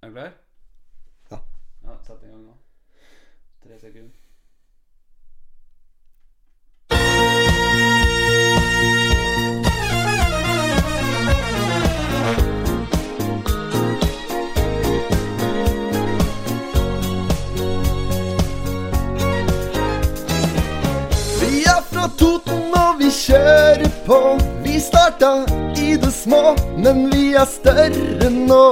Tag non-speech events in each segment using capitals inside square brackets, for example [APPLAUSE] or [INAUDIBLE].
klar? Ja. Ja, Sett i gang nå. Tre sekunder. Vi er fra Toten og vi kjører på. Vi starta i det små, men vi er større nå.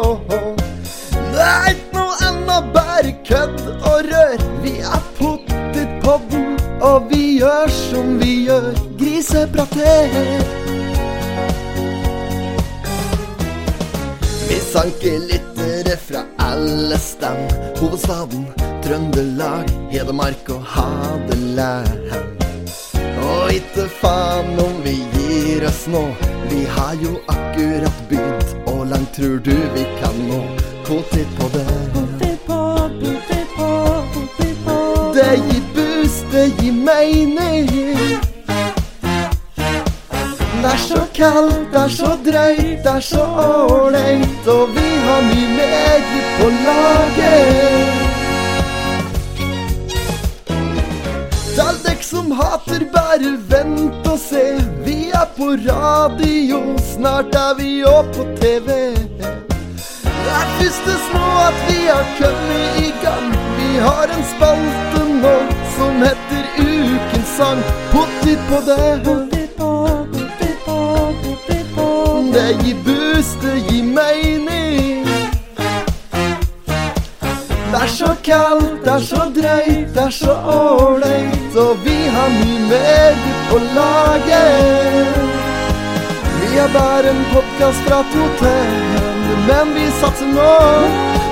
Det er ikke noe annet, bare kødd og rør. Vi er potetpodden, og vi gjør som vi gjør. Grisebrater. Vi sanker lyttere fra alle stand. Hovedstaden, Trøndelag, Hedmark og Hadeland. Og ikke faen om vi gir oss nå. Vi har jo akkurat begynt, og langt tror du vi kan nå? Potet på det. Det gir boost, det gir mening. Det er så kaldt, det er så drøyt, det er så ålreit, og vi har mye mer på laget. Til dere som hater, bare vent og se. Vi er på radio, snart er vi òg på TV. Det er førstes nå at vi har kommet i gang. Vi har en spalte nå som heter Ukens sang. Potti på det. Det gir boost, det gir mening. Det er så kaldt, det er så drøyt, det er så ålreit, og vi har mye mer på laget. Vi er bare en podkast fra Toten, men vi satser nå.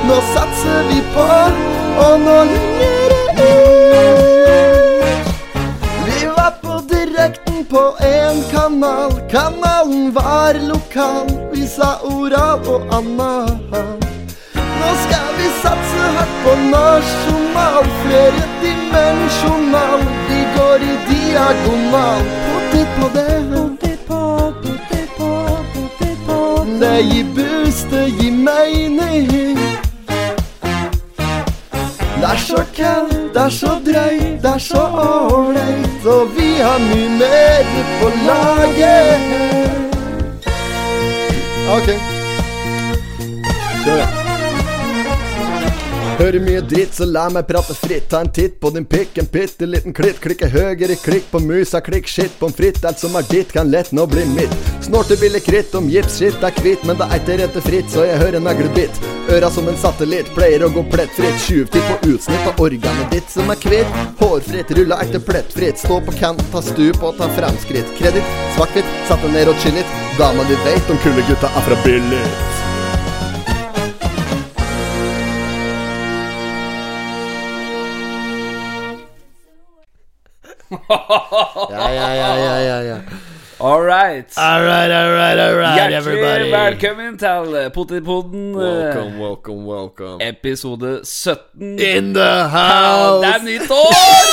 Nå satser vi på, og nå lenger det ut. Vi var på direkten på én kanal. Kanalen var lokal. Vi sa oral og anal. Nå skal vi satse hardt på nasjonal. Flere dimensjonal. Vi går i diagonal. Potet på det. Det gir boost, det gir mening. Det er så kaldt, det er så drøyt, det er så ålreit, og vi har mye mer på laget. OK. Kjør. Hører mye dritt, så la meg prate fritt. Ta en titt på din pikk, en bitte liten klitt. Klikke høyere, klikk på musa, klikk shit, pommes frites. Alt som er ditt, kan lett nå bli mitt. Snortebille kritt om gips, shit er kvitt, men det er ikke rette fritt, så jeg hører en neglebitt. Øra som en satellitt, pleier å gå plettfritt. Tjuvtitt på utsnitt av organet ditt som er kvitt. Hårfritt, rulla ekte plettfritt. Stå på kant, ta stup og ta fremskritt. Kreditt, svart-hvitt, satt deg ned og chill litt. Dama di veit om kule gutta er fra Billit. Ja, ja, ja, ja, ja, ja. All right. All right, all right, all right, Hjertelig velkommen til Potetpodden, eh, Welcome, welcome, welcome. episode 17. In the Ja, Det house! er nytt år!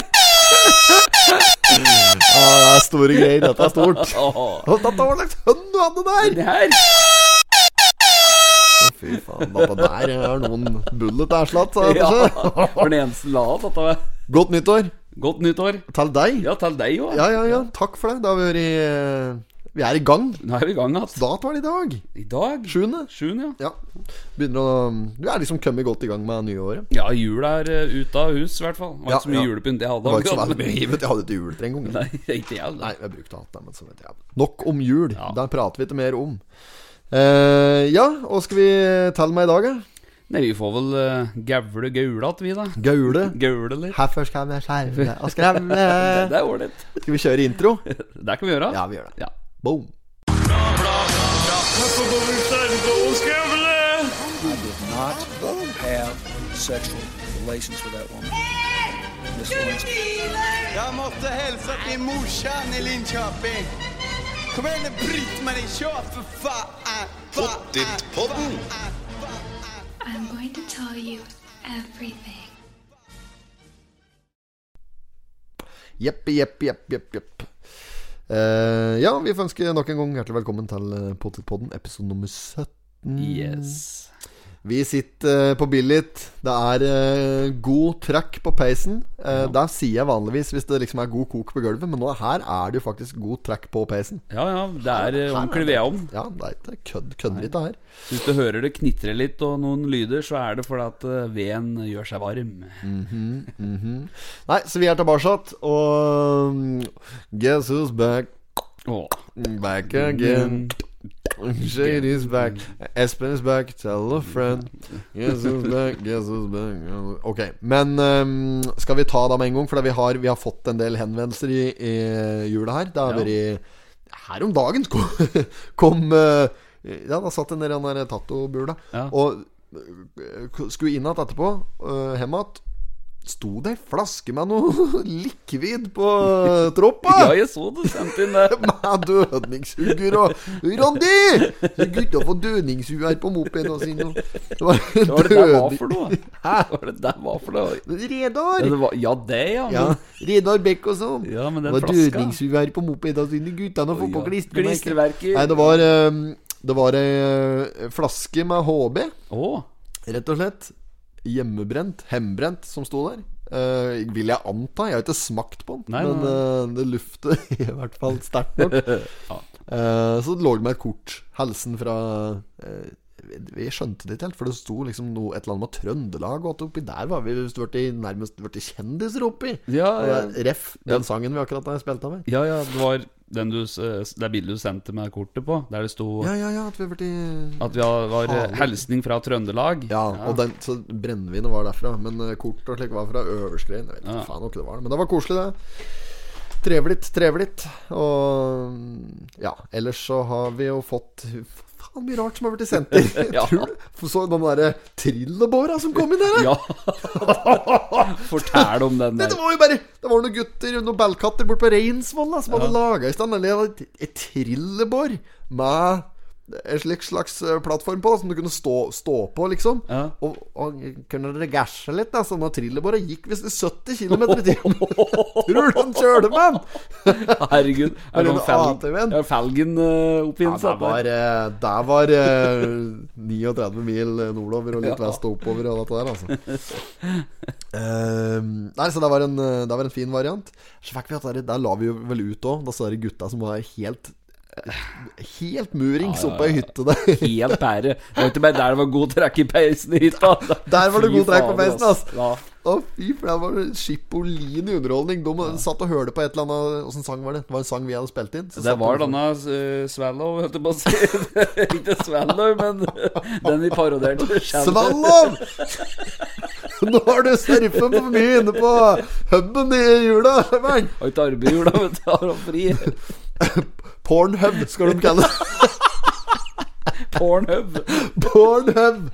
Å, Ah, det er store greier. Dette er [LAUGHS] stort. Åh, Å, Dette var slags hønn du hadde der! Det her Å, Fy faen, dette der er noen bullet erslatt, sa jeg Ja, kanskje. [LAUGHS] var den eneste la av dette. var- Godt nyttår Godt nytt år. til deg. Ja, til deg òg. Ja, ja, ja. Takk for det. Det har vært eh, Vi er i gang. Nå er vi i gang igjen. Dato er det i dag. I dag Sjuende. Sjuende, ja. Ja. Begynner å Du er liksom kommet godt i gang med nyåret. Ja, jula er eh, ute av hus, i hvert fall. Det var Ja, ikke så mye ja. julepynt jeg hadde. Det var ikke så akkurat, veldig mye men- givet. Jeg hadde ikke juletre engang. [LAUGHS] Nei, ikke jeg. da. Nei, jeg brukte alt det, men så vet jeg. Nok om jul. Ja. Der prater vi ikke mer om. Eh, ja, hva skal vi telle med i dag, da? Nei, vi får vel uh, gavle gaula til vi, da. Gaule. Gaule litt. Herfor skal vi skjerme og skremme. Det det er ålreit. Skal vi kjøre intro? Det kan vi gjøre. Ja, vi gjør det. Ja. Boom. not have sexual relations with that woman. Miss Lewinsky. Jeg måtte hilse til morsan i Linköping. Kom igjen, Britt-Marie, kjør, for faen! Pottitpodden! I'm going to tell you everything. Jepp, jepp, jepp, jepp. jepp. Eh, ja, vi får ønske nok en gang hjertelig velkommen til eh, Potetpodden, episode nummer 17. Yes. Vi sitter eh, på Billit. Det er eh, god trøkk på peisen. Eh, Der sier jeg vanligvis hvis det liksom er god kok på gulvet, men nå her er det jo faktisk god trøkk på peisen. Ja, ja, det er eh, ordentlig vedovn. Ja, det er ikke kødd, kødder ikke her. Hvis du hører det knitre litt og noen lyder, så er det fordi at eh, veden gjør seg varm. Nei, så vi er tilbake, og mm, Guess who's back? Åh, Back again. Shade is back. Espen is back. Tell a friend. Guess who's back. Guess who's back. Ok, men ehm, skal vi ta det med en gang? For vi har, vi har fått en del henvendelser i, i jula her. Det har Ja. vært Her om dagen kom, [LAUGHS] kom eh, Ja, da satt en del i den der tattobula. Ja. Og eh, skulle inn igjen etterpå, eh, hjem igjen. Sto det ei flaske med noe [LAUGHS] likvid på eh, troppa? [LAUGHS] Ja, jeg så du sendte [LAUGHS] inn det. med dødningshugger og Randi! Så gutta får dødningshuer på mopedene sine. og- Det var Hva var det der var dødning- for noe? Hæ? Hva var det der var for noe? Ja, Redar! det, var, ja, det ja. Ja, men- Redar Bekk og sånn. Ja, men den det var flaska. dødningshuer på mopedene sine. Guttene får på ja. klistremerker. Klistremerker. Nei, det var ehm, Det var ei flaske med HB, Åh, rett og slett. Hjemmebrent, hembrent, som sto der. Eh, vil jeg anta. Jeg har ikke smakt på den, Nei, men nei, eh, det lufter [LAUGHS] i hvert fall sterkt nok. Eh, så lå det med et kort. Helsen fra eh, vi- Vi skjønte det ikke helt, for det sto liksom noe, et eller annet med Trøndelag. Og at oppi der var vi visst vært i- nærmest blitt kjendiser oppi. Ja, ja. Og det er Ref, den sangen vi akkurat har spilt av. her. ja, ja, det var den du, s- det bildet du sendte med kortet på, der det sto Ja, ja, ja, at vi har vært i at vi har- var eh, Faen. hilsning fra Trøndelag. Ja, og den, så brennevinet var derfra. Men eh, kort og slik var fra Øverskrein. Jeg vet ikke Ja. faen hva det var. Men det var koselig, det. Trevelig, trevelig. Og mm, ja, ellers så har vi jo fått faen mye rart som har blitt sendt [LAUGHS] inn. [LAUGHS] Ja. Tror du? Så de derre trillebåra som kom inn der, da. [LAUGHS] Ja. Fortell om den der. Det var jo bare Det var noen gutter, noen ballkatter borte på Reinsvoll da, som hadde laga i stand en liten- et trillebår med en slik slags eh, plattform på, som du kunne stå, stå på, liksom. Ja. Og, og kunne regasje litt, da, sånn at trillebåret gikk visst i 70 km i timen. Tror du han kjøler med den? Herregud. Er det Var det noen en felgen, ATV-en? er felgen eh, Ja, oppfinnelse? det var, eh, det var eh, [LAUGHS] 39 mil eh, [LAUGHS] nordover og litt vest og oppover og alt det der, altså. Ehm, nei, så det var, en, eh, det var en fin variant. Så fikk vi at der, der la vi jo vel ut òg, disse der gutta som var helt eh, Helt murings oppe i hytte der. [LAUGHS] Helt pære. Det var ikke bare der det var god trekk i peisen i hytta. [LAUGHS] Der var det Fy god trekk på fader, peisen, ass. ass. Ja. Å, fy, for det var Schipolin i underholdning. De satt og hørte på et eller annet Åssen sang var det? Det var en sang vi hadde spilt inn. så Det satt var de- denne eh, Swallow, holdt jeg på å si. [LAUGHS] Ikke Swallow, men [LAUGHS] den vi parodierte. Svallov! Nå har du surfa for mye inne på huben i jula. Vern. Har ikke arbeid i jula, vet du. Har han fri. Pornhub skal de kalle det. Pornhub. Pornhub!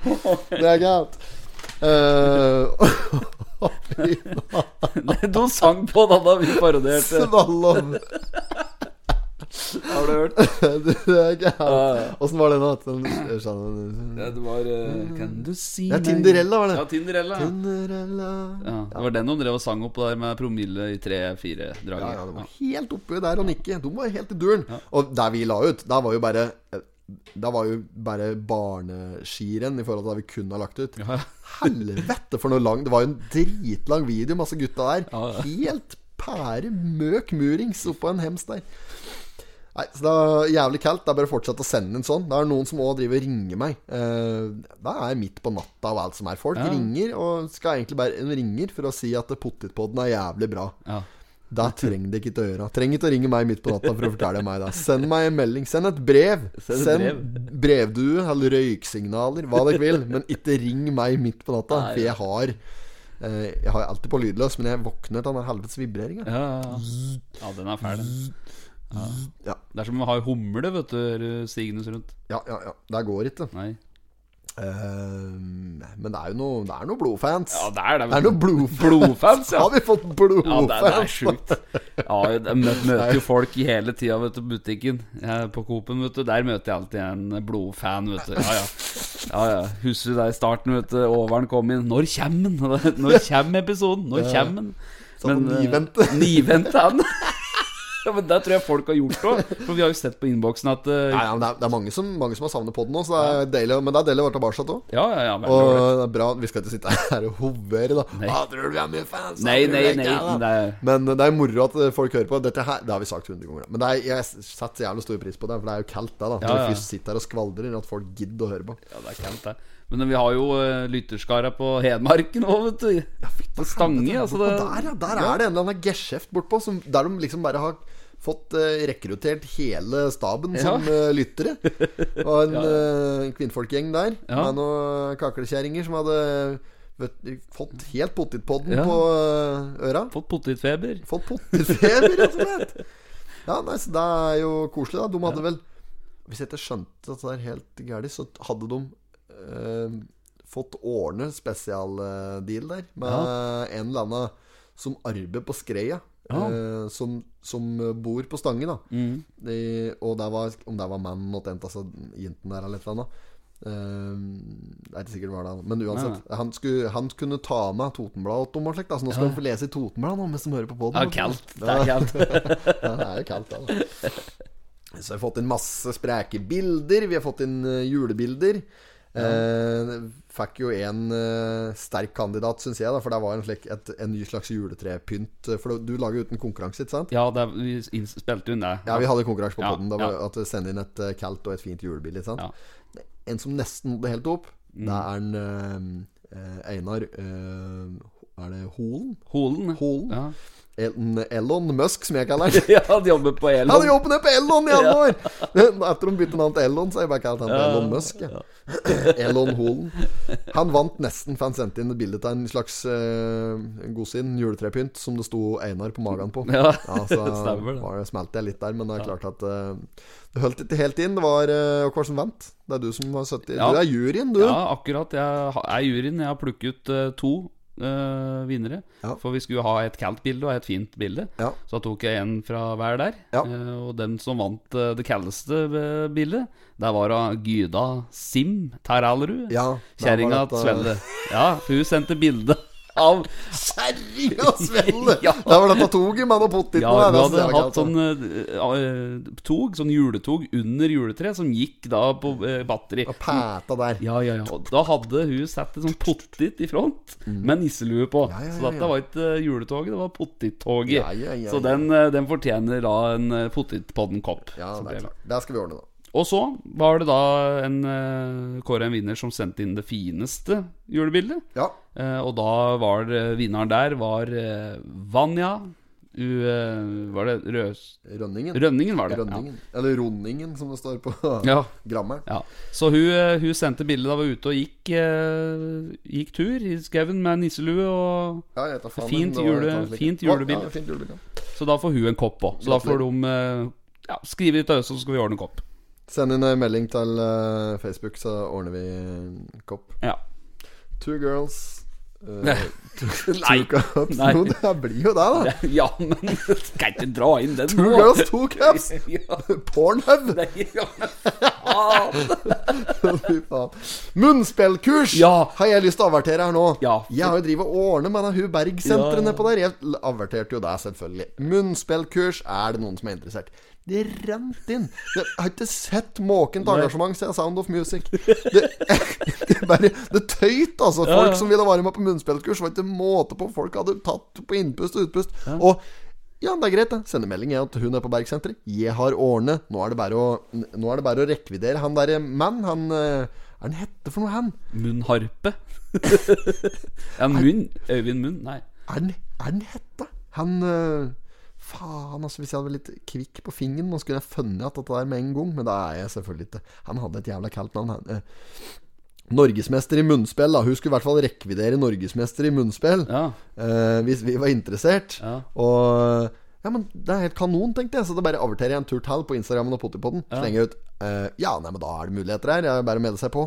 Det er galt. Uh, De sang på den da vi parodierte. Svallov! Har du hørt? Det er Ja. galt. Åssen var det nå? Den- skjønner Ja, du? Det var eh, Kan du si Ja, meg- Tinderella var det. Ja, Tinderella. ja. Tinderella Ja, det var den hun drev og sang opp på der med promille i tre-fire-draget. Ja, ja, det var helt oppe der og nikke. De var helt i duren. Og der vi la ut, der var jo bare Der var jo bare barneskirenn i forhold til det vi kunne ha lagt ut. Helvete for noe lang Det var jo en dritlang video, masse gutta der. Ja, ja. Helt pære møk murings oppå en hems der. Nei, så det er jævlig kaldt. Det er bare å fortsette å sende en sånn. Det er noen som òg driver og ringer meg. Eh, det er midt på natta og alt som er. Folk Ja. ringer og skal egentlig bare En ringer for å si at potetpodden er jævlig bra. Ja. [LAUGHS] Det trenger det ikke til å gjøre. Trenger ikke å ringe meg midt på natta for å fortelle meg det. Send meg en melding. Send et brev. Send et brevdue eller røyksignaler, hva dere vil. Men ikke ring meg midt på natta, Nei. for jeg har eh, Jeg har alltid på lydløs, men jeg våkner til den helvetes vibreringa. Ja, ja, ja. ja, den er fæl, den. Ja. Det er som å ha ei humle, vet du, stigende rundt. Ja, ja, ja. Det går ikke. Nei. Eh, men det er jo noe, det er noe blodfans. Ja, det er det. det er noe blodfans. Blodfans, [LAUGHS] ja. Har vi fått Ja, det, det er blodfans? sjukt. Ja, jeg mø- møter jo folk i hele tida vet du, på butikken. Jeg, på Coop-en, vet du. Der møter jeg alltid en blodfan, vet du. Ja, ja. ja, ja. Husker du det i starten, vet du. Åveren kom inn. Når kommer [LAUGHS] den? Når kommer episoden? Når kommer den? [LAUGHS] Satt og nivvente. Nivente eh, han. Ja, men Det tror jeg folk har gjort òg. For vi har jo sett på innboksen at eh, Nei, ja, men det, er, det er mange som, mange som har savnet podden nå, så det er deilig, å- men det er deilig å være tilbake igjen òg. Ja, ja, ja. men- Og det er bra, vi skal ikke sitte her og hovere, da. Ah, tror du vi er mye fans? Nei, Tror du nei, vi er nei, gæren, da? nei. Men det er moro at folk hører på. Dette her, Det har vi sagt 100 ganger, da. men det er, jeg setter jævlig stor pris på det. For det er jo kaldt, det, da. Når ja. vi først sitter her og skvaldrer, at folk gidder å høre på. Ja, det er kaldt, det. Men vi har jo uh, lytterskara på Hedmarken òg, vet du. på Stange. Altså, det, Og der, ja, der er det en eller annen geskjeft bortpå, som- der de liksom bare har fått eh, rekruttert hele staben som eh, lyttere. Det var [LAUGHS] en eh, kvinnfolkgjeng der Ja. med noen kakelkjerringer som hadde vet, du, fått helt potetpodden Ja. på eh, øra. Fått potetfeber. Fått potetfeber, rett og slett. Ja, nei, så det er jo koselig, da. De hadde vel Hvis jeg ikke skjønte dette der helt gærent, så hadde de eh, fått ordne spesialdeal der med en eller annen som arbeider på Skreia. eh, som, som bor på Stange, da. De, og det var, om det var mannen og jenta altså, jenten der eller et eller annet. Eh, det er ikke sikkert det var det, men uansett. Han, skulle, han kunne ta med Totenbladet og slikt. da, Så nå skal han få lese i Totenbladet nå, mens de hører på Det podden er kaldt. Det er kaldt. ja, det er jo kaldt, altså. da. da. [LAUGHS] Så vi har fått inn masse spreke bilder. Vi har fått inn eh, julebilder. Eh, fikk jo en eh, sterk kandidat, syns jeg, da, for det var en, slik, et, en ny slags juletrepynt. For du lager jo uten konkurranse, ikke sant? Ja, det er, vi inn- spilte hun det. Ja, vi hadde konkurranse på Ja, podden. Da var ja. at vi sendte inn et eh, kaldt og et fint julebilde. Ikke sant? Ja. Mm. En som nesten nådde helt opp, det er en eh, eh, Einar eh, Er det Holen? Holen. Holen? Ja. El- Elon Musk, som jeg kaller han. [LAUGHS] ja, de jobber på Jeg hadde Elon. jobben på Elon i alle år! Etter de bytte navn til Elon, så har jeg bare kalt han for Elon Musk. jeg. Elon Holen. Han vant nesten, for han sendte inn et bilde av en slags uh, godsin, juletrepynt, som det sto Einar på magen på. Ja, så stemmer [LAUGHS] det. var det smalt jeg litt der, men det er klart at eh, det holdt ikke helt inn. Det var eh, hva som vant. Det er du som har sittet Ja. Du er juryen, du. Ja, akkurat. Jeg ha- er juryen. Jeg har plukket ut eh, to eh, vinnere. Ja. For vi skulle ha et kaldt bilde og et fint bilde. Ja. Så da tok jeg en fra hver der. Ja. Eh, og den som vant eh, det kaldeste eh, bildet, der var da Gyda Sim Teralerud. Ja, der Kjerringa var eh, dette- til Svelle. Ja, hun sendte bilde av Kjerringa [LAUGHS] svelle! Ja. Der var det på toget med noe potet Ja, på. hun det synes hadde jeg var kaldt, hatt da. sånn eh, eh, tog, sånn juletog under juletreet, som gikk da på eh, batteri. Og Pæta der. Ja, ja, ja. Og da hadde hun satt en sånn pottit i front med nisselue på. Mm. Ja, ja, ja, Så dette ja. var ikke eh, juletoget, det var pottittoget. Ja, ja, ja, Så ja. den, eh, den fortjener da en eh, pottitpodden-kopp. Ja, som det ble er lagd. klart. Det skal vi ordne, da. og så var det da en eh, Kåre en vinner som sendte inn det fineste julebildet. Ja. Eh, og da var det- vinneren der var eh, Vanja u, eh, Var det Røs... Rønningen. Rønningen, var det. Rønningen. Eller Ronningen, som det står på Ja. ja. grammeren. Ja, Så hun, eh, hun sendte bilde da hun var ute og gikk, eh, gikk tur i skauen med nisselue. Og, Ja, jeg tar faen, Fint men det var jule- et annet like. fint Å, julebilde. Ja, fint julebilde. så da får hun en kopp òg. Så da får de eh, ja, skrive litt av oss, så skal vi ordne en kopp. Send inn en melding til eh, Facebook, så ordner vi en kopp. Ja. Two girls. eh, two, Nei. two cups. Nei. Jo, det blir jo det, da. [LAUGHS] ja, men [LAUGHS] skal ikke dra inn den Two nå! girls, two cups. [LAUGHS] Ja, Pornhub. nei, ja, men faen. Fy faen. Munnspillkurs Ja. har jeg lyst til å avertere her nå. Ja. Jeg har jo drivet og ordnet med det Hu Berg-senteret Ja. nedpå der. Jeg l- averterte jo det, selvfølgelig. Munnspillkurs er det noen som er interessert. Det rant inn. Det, jeg har ikke sett maken til engasjement siden Sound of Music. Det, [LAUGHS] det, bare, det tøyt, altså. Folk ja. som ville være med på munnspillkurs, var ikke måte på. Folk hadde tatt på innpust og utpust. Og ja, det er greit, da. Sende melding jeg at hun er på Bergsenteret. Jeg har årene. Nå er det bare å, nå er det bare å rekvidere han derre mann. Han eh, Er han hette for noe, han? Munnharpe. Ja, munn. Øyvind Munn. Nei. Er den, er den hette? Han øh, Faen, altså. Hvis jeg hadde vært litt kvikk på fingeren, nå skulle jeg funnet at dette der med en gang. Men det er jeg selvfølgelig ikke. Han hadde et jævla kaldt navn. han, øh. Norgesmester i munnspill, da. Hun skulle i hvert fall rekvidere norgesmester i munnspill. Ja. eh, hvis vi var interessert. Ja. Og eh, Ja, men det er helt kanon, tenkte jeg. Så da bare averterer jeg en tur til på Instagrammen og Potipodden. Slenger jeg ut eh, Ja, nei, men da er det muligheter her. Jeg bare å melde seg på.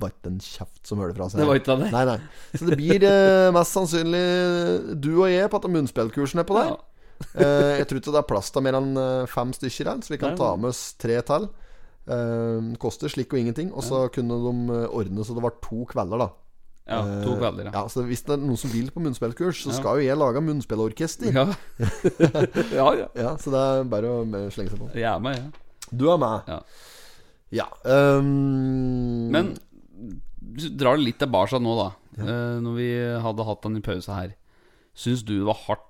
Var ikke en kjeft som hører fra seg. Det var ikke av det. Nei, nei. Så det blir eh, mest sannsynlig eh, du og jeg på at munnspillkursen er på der. Ja. [LAUGHS] Eh, jeg tror ikke det er plass til mer enn eh, fem stykker her, så vi kan Nei, ta med oss tre til. Eh, koster slikk og ingenting. Og så kunne de eh, ordne så det var to kvelder, da. Ja, to kvelder, ja. Ja, så Hvis det er noen som vil på munnspillkurs, så skal jo jeg lage munnspillorkester. Ja. Ja, [LAUGHS] ja. ja. Så det er bare å eh, slenge seg på. Jeg er med, ja. Du er med. Ja. Ja, ehm, Men du drar det litt tilbake nå, da. Eh, Når vi hadde hatt den i pause her. Syns du det var hardt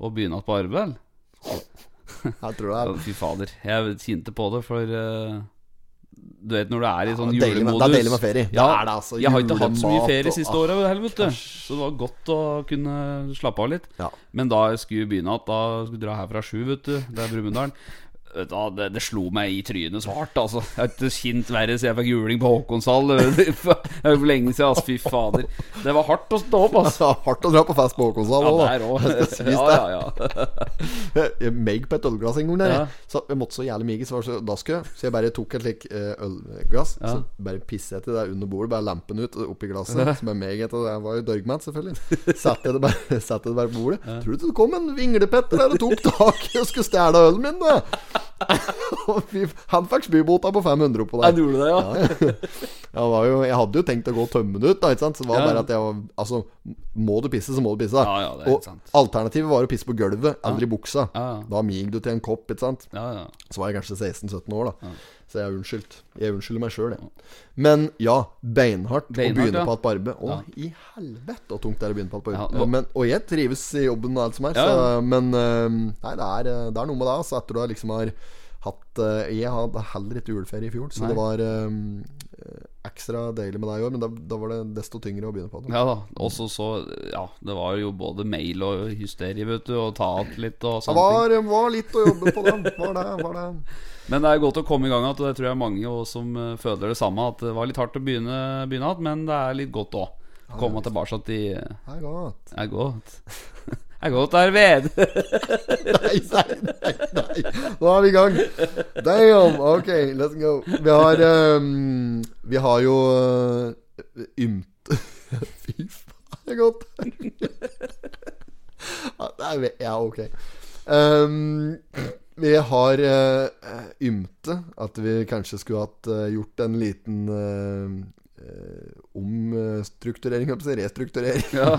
å begynne igjen på arbeid? eller? jeg tror det er Ja, Fy fader. Jeg kjente på det, for eh, du vet når du er i sånn det er deilig med- julemodus det er deilig med ferie. Ja, Det er det, altså. Jeg har ikke hatt så mye Julemat ferie og- siste året, helvete. Så det var godt å kunne slappe av litt. Ja. [LAUGHS] Men da jeg skulle begynne igjen, da skulle jeg dra herfra sju, vet du. Det er Brumunddal. Vet du hva, Det, det slo meg i trynet så hardt, altså. Jeg har ikke kjent verre siden jeg fikk juling på Håkonshall. Det er [LAUGHS] for lenge siden, altså. Fy fader. Det var hardt å stå opp, altså. Det er hardt å dra på fest på Håkonshall [LAUGHS] Ja, også, der òg. [LAUGHS] da. [LAUGHS] Jeg Ja, spiste ja, ja. [LAUGHS] Jeg meg på et ølglass en gang der. Ja. jeg. Så jeg måtte så jævlig mye, så var det så daskø. Så jeg bare tok et slik eh, ølglass, Ja. så bare pisset jeg til det under bordet, bare lampen ut og oppi glasset. Som er meg etter Jeg var jo dørgmat, selvfølgelig. Satte jeg det bare, [LAUGHS] satte jeg det bare på bordet. Tror du det kom en vinglepetter der og tok tak i og skulle stjele ølen min, du? [LAUGHS] Og fy f- Han fikk spybota på 500 oppå der. gjorde det, ja. Jeg, var jo, jeg hadde jo tenkt å gå og tømme det ut, da, ikke sant? så det var Ja. bare at jeg var Altså, må du pisse, så må du pisse. Da. Ja, ja, det er helt sant. og alternativet var å pisse på gulvet, aldri i buksa. Ja, ja. Da mig du til en kopp, ikke sant. ja, ja. Så var jeg kanskje 16-17 år, da. Så jeg er unnskyldt. Jeg unnskylder meg sjøl, jeg. Men ja, Beinhardt, beinhardt, å begynne ja. på et arbeid. Å, i helvete så tungt det er å begynne på et Ja, arbeid. nå- men, og jeg trives i jobben og alt som er, Ja, ja. så, men eh, Nei, det er, eh, det er noe med det. Så etter du har liksom har hatt eh, Jeg hadde heller ikke juleferie i fjor, så Nei. det var eh, ekstra deilig med deg i år, men da, da var det desto tyngre å begynne på det. Ja da. Og så så Ja, det var jo både mail og hysteri, vet du, og ta alt litt og Det sånne ting. var, var litt å jobbe på, da. Var det, var det. Men det er godt å komme i gang igjen, og det tror jeg er mange også som eh, føler det samme. At det var litt hardt å begynne begynne igjen, men det er litt godt òg. Komme tilbake til eh, at Det er godt. det er [LAUGHS] godt. Det er godt [LAUGHS] arbeid. Nei, nei, nei, nei. Nå er vi i gang. Damn! Ok, let's go. Vi har ehm, Vi har jo eh, ymt [LAUGHS] Fy faen, det er godt. Ja, det er, ve- ja, ok. Ehm, vi har eh, ymte at vi kanskje skulle hatt eh, gjort en liten eh, eh, omstrukturering, holdt jeg på å si, restrukturering. Ja.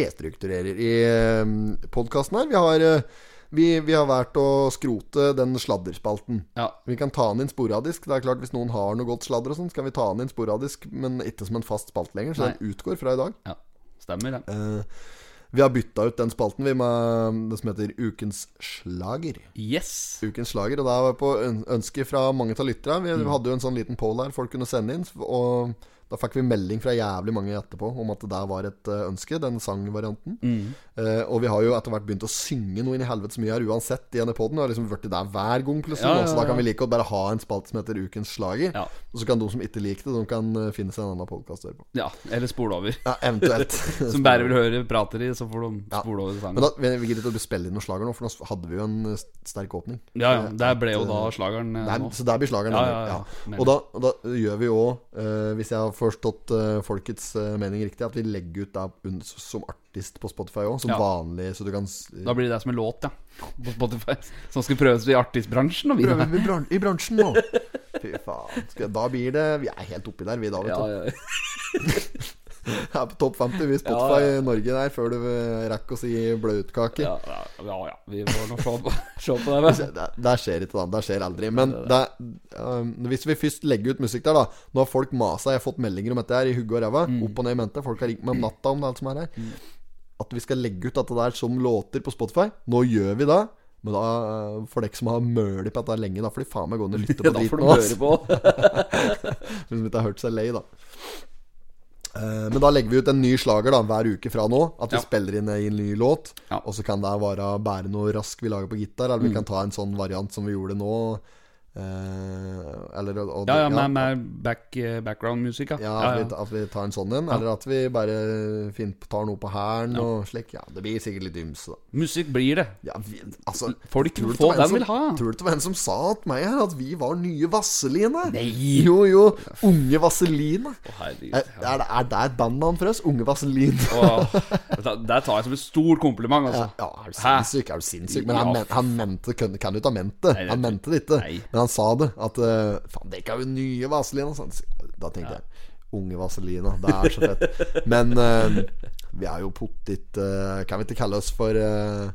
Restrukturerer i eh, podkasten her. Vi har, eh, vi, vi har valgt å skrote den sladderspalten. Ja. Vi kan ta den inn sporadisk. Det er klart Hvis noen har noe godt sladder, og sånn skal vi ta den inn sporadisk, men ikke som en fast spalt lenger. Så Nei. den utgår fra i dag. ja. Stemmer, det. Eh, vi har bytta ut den spalten vi med det som heter Ukens slager. Yes. Ukens slager, og det er på øn- ønske fra mange av lytterne. Vi Mm. hadde jo en sånn liten poll her folk kunne sende inn, og da fikk vi melding fra jævlig mange etterpå om at det der var et eh, ønske, den sangvarianten. Mm. Eh, og vi har jo etter hvert begynt å synge noe inn i helvete så mye her uansett i denne poden. Det har liksom blitt det der hver gang, plutselig. Ja, ja, nå, Så da kan ja. vi like godt bare ha en spalte som heter Ukens slager. Ja. Og så kan de som ikke liker det, de kan eh, finne seg en annen podkast å høre på. Ja, eller spole [LAUGHS] over. Ja, eventuelt. [LAUGHS] Som bare vil høre prater i, så får de Ja. spole over Men sangen. da, vi vi gidder ikke å spille inn noen slager nå, for nå hadde vi jo en eh, sterk åpning. Eh, Ja, ja. Der ble jo da slageren eh, Der, nå. så der blir slageren. Ja, den, ja, ja. Mener. Og, da, og da gjør vi òg, hvis jeg har forstått eh, folkets eh, mening riktig, at vi legger ut det un- som artist på Spotify òg, som Ja. vanlig, så du kan s- Da blir det som en låt, ja. [LAUGHS] På Spotify. Som skal prøves i artistbransjen. Og vi, Prøver vi bran i bransjen nå? Fy faen. Skal, da blir det Vi er helt oppi der, vi da, [LAUGHS] vet Ja, [LAUGHS] du. ja. Jeg er på topp 50 vi Spotify Norge der før du eh, rekker å si bløtkake. Ja, ja, ja, ja. Vi får nå se [LAUGHS] på, se på det. vel. Det, det skjer ikke, da. Det skjer aldri. Men det, um, hvis vi først legger ut musikk der, da Nå har folk masa, jeg har fått meldinger om dette her i hugget og ræva. Opp og ned i mente. Folk har ringt meg om natta om det alt som er her. At vi skal legge ut dette der som låter på Spotify. Nå gjør vi det. Men da uh, for dere som har mølt på dette lenge, da får de faen meg gå ned og lytte på Da får de driten nå. ass. høre på. Hvis de ikke har hørt seg lei, da. Eh, Men da legger vi ut en ny slager da hver uke fra nå. At vi Ja. spiller inn en ny låt. Ja. Mm. Og så kan det være bære noe rask vi lager på gitar, eller vi kan ta en sånn variant som vi gjorde nå. eh, Eller og, og- Ja, ja, med, med back, eh, background music, ja. ja, at, Vi, at vi tar en sånn en. Eller at vi bare fin- tar noe på hælen og slik. Ja, det blir sikkert litt ymse, da. Musikk blir det. Ja, vi, altså, Folk tror vil du det få var en den som- vil ha. Tror du det var en som sa til meg her at vi var nye Vaseline? Nei Jo, jo. Unge Vaseline. Å, herregud. Er, er, det- er det et bandnavn for oss? Unge Vaselin? Åh, da- Der tar jeg som et stort kompliment, altså. [LAUGHS] Ja, er du sinnssyk? Er du sinnssyk? Men han, Ja. men, han mente Kan kan du ikke ha ment det? Nei, det- Han mente det ikke. Nei. Men han sa det. At eh, Faen, dere er jo nye Vaselin. Og sånn. altså. Da tenkte jeg Unge Vazelina. Det er så fett. Men eh, vi er jo pottit eh, Kan vi ikke kalle oss for eh,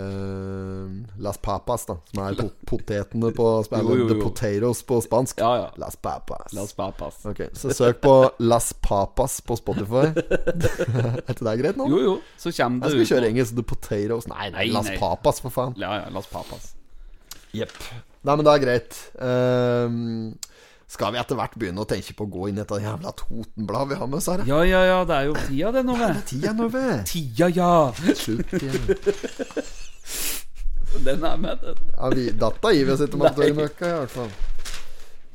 eh, Las Papas, da? Som [LAUGHS] er pot potetene på spansk. Jo, jo, jo. The potatoes på spansk. Ja, ja. Las Papas. La oss papas. Ok, Så søk på Las Papas på [LAUGHS] Spotify. er ikke det greit nå? Jo, jo, så kommer Jeg det skal ut kjøre noe. engelsk. The potatoes. Nei, nei, Nei, Las nei. Papas, for faen. Ja, ja, la oss papas. Nei, men det er greit. Ehm, skal vi etter hvert begynne å tenke på å gå inn i dette jævla Totenbladet vi har med oss her? da? Ja, ja, ja, det er jo tida, det, nå, Det vel. er Tida nå, [LAUGHS] ved. Tida, ja. Slutt igjen. Den er med, den. Ja, vi, dette gir vi oss ikke med at det er møkka, i hvert fall.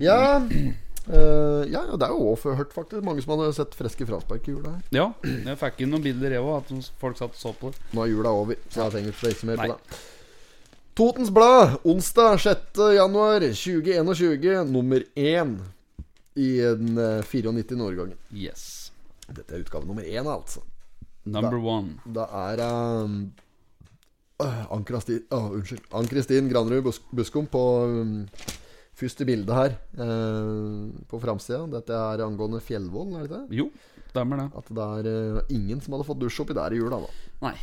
Ja, eh, ja, ja, det er jo også hørt, faktisk. Mange som hadde sett friske fraspark i jula her. Ja, jeg fikk inn noen bilder, jeg òg, at noen folk satt og så på det. Nå er jula over, så jeg trenger ikke reise mer på Nei. det. Totens Blad, onsdag 6. januar 2021, nummer én i den eh, 94 Norgegangen. Yes. Dette er utgave nummer én, altså. Number one. Det er um, øh, Ann-Kristin Åh, Unnskyld. Ann-Kristin Granrud Bus Buskum på um, første bilde her. eh, på framsida. Dette er angående Fjellvoll, er det ikke det? Jo, stemmer det. At det er eh, ingen som hadde fått dusj oppi der i jula, da. Nei,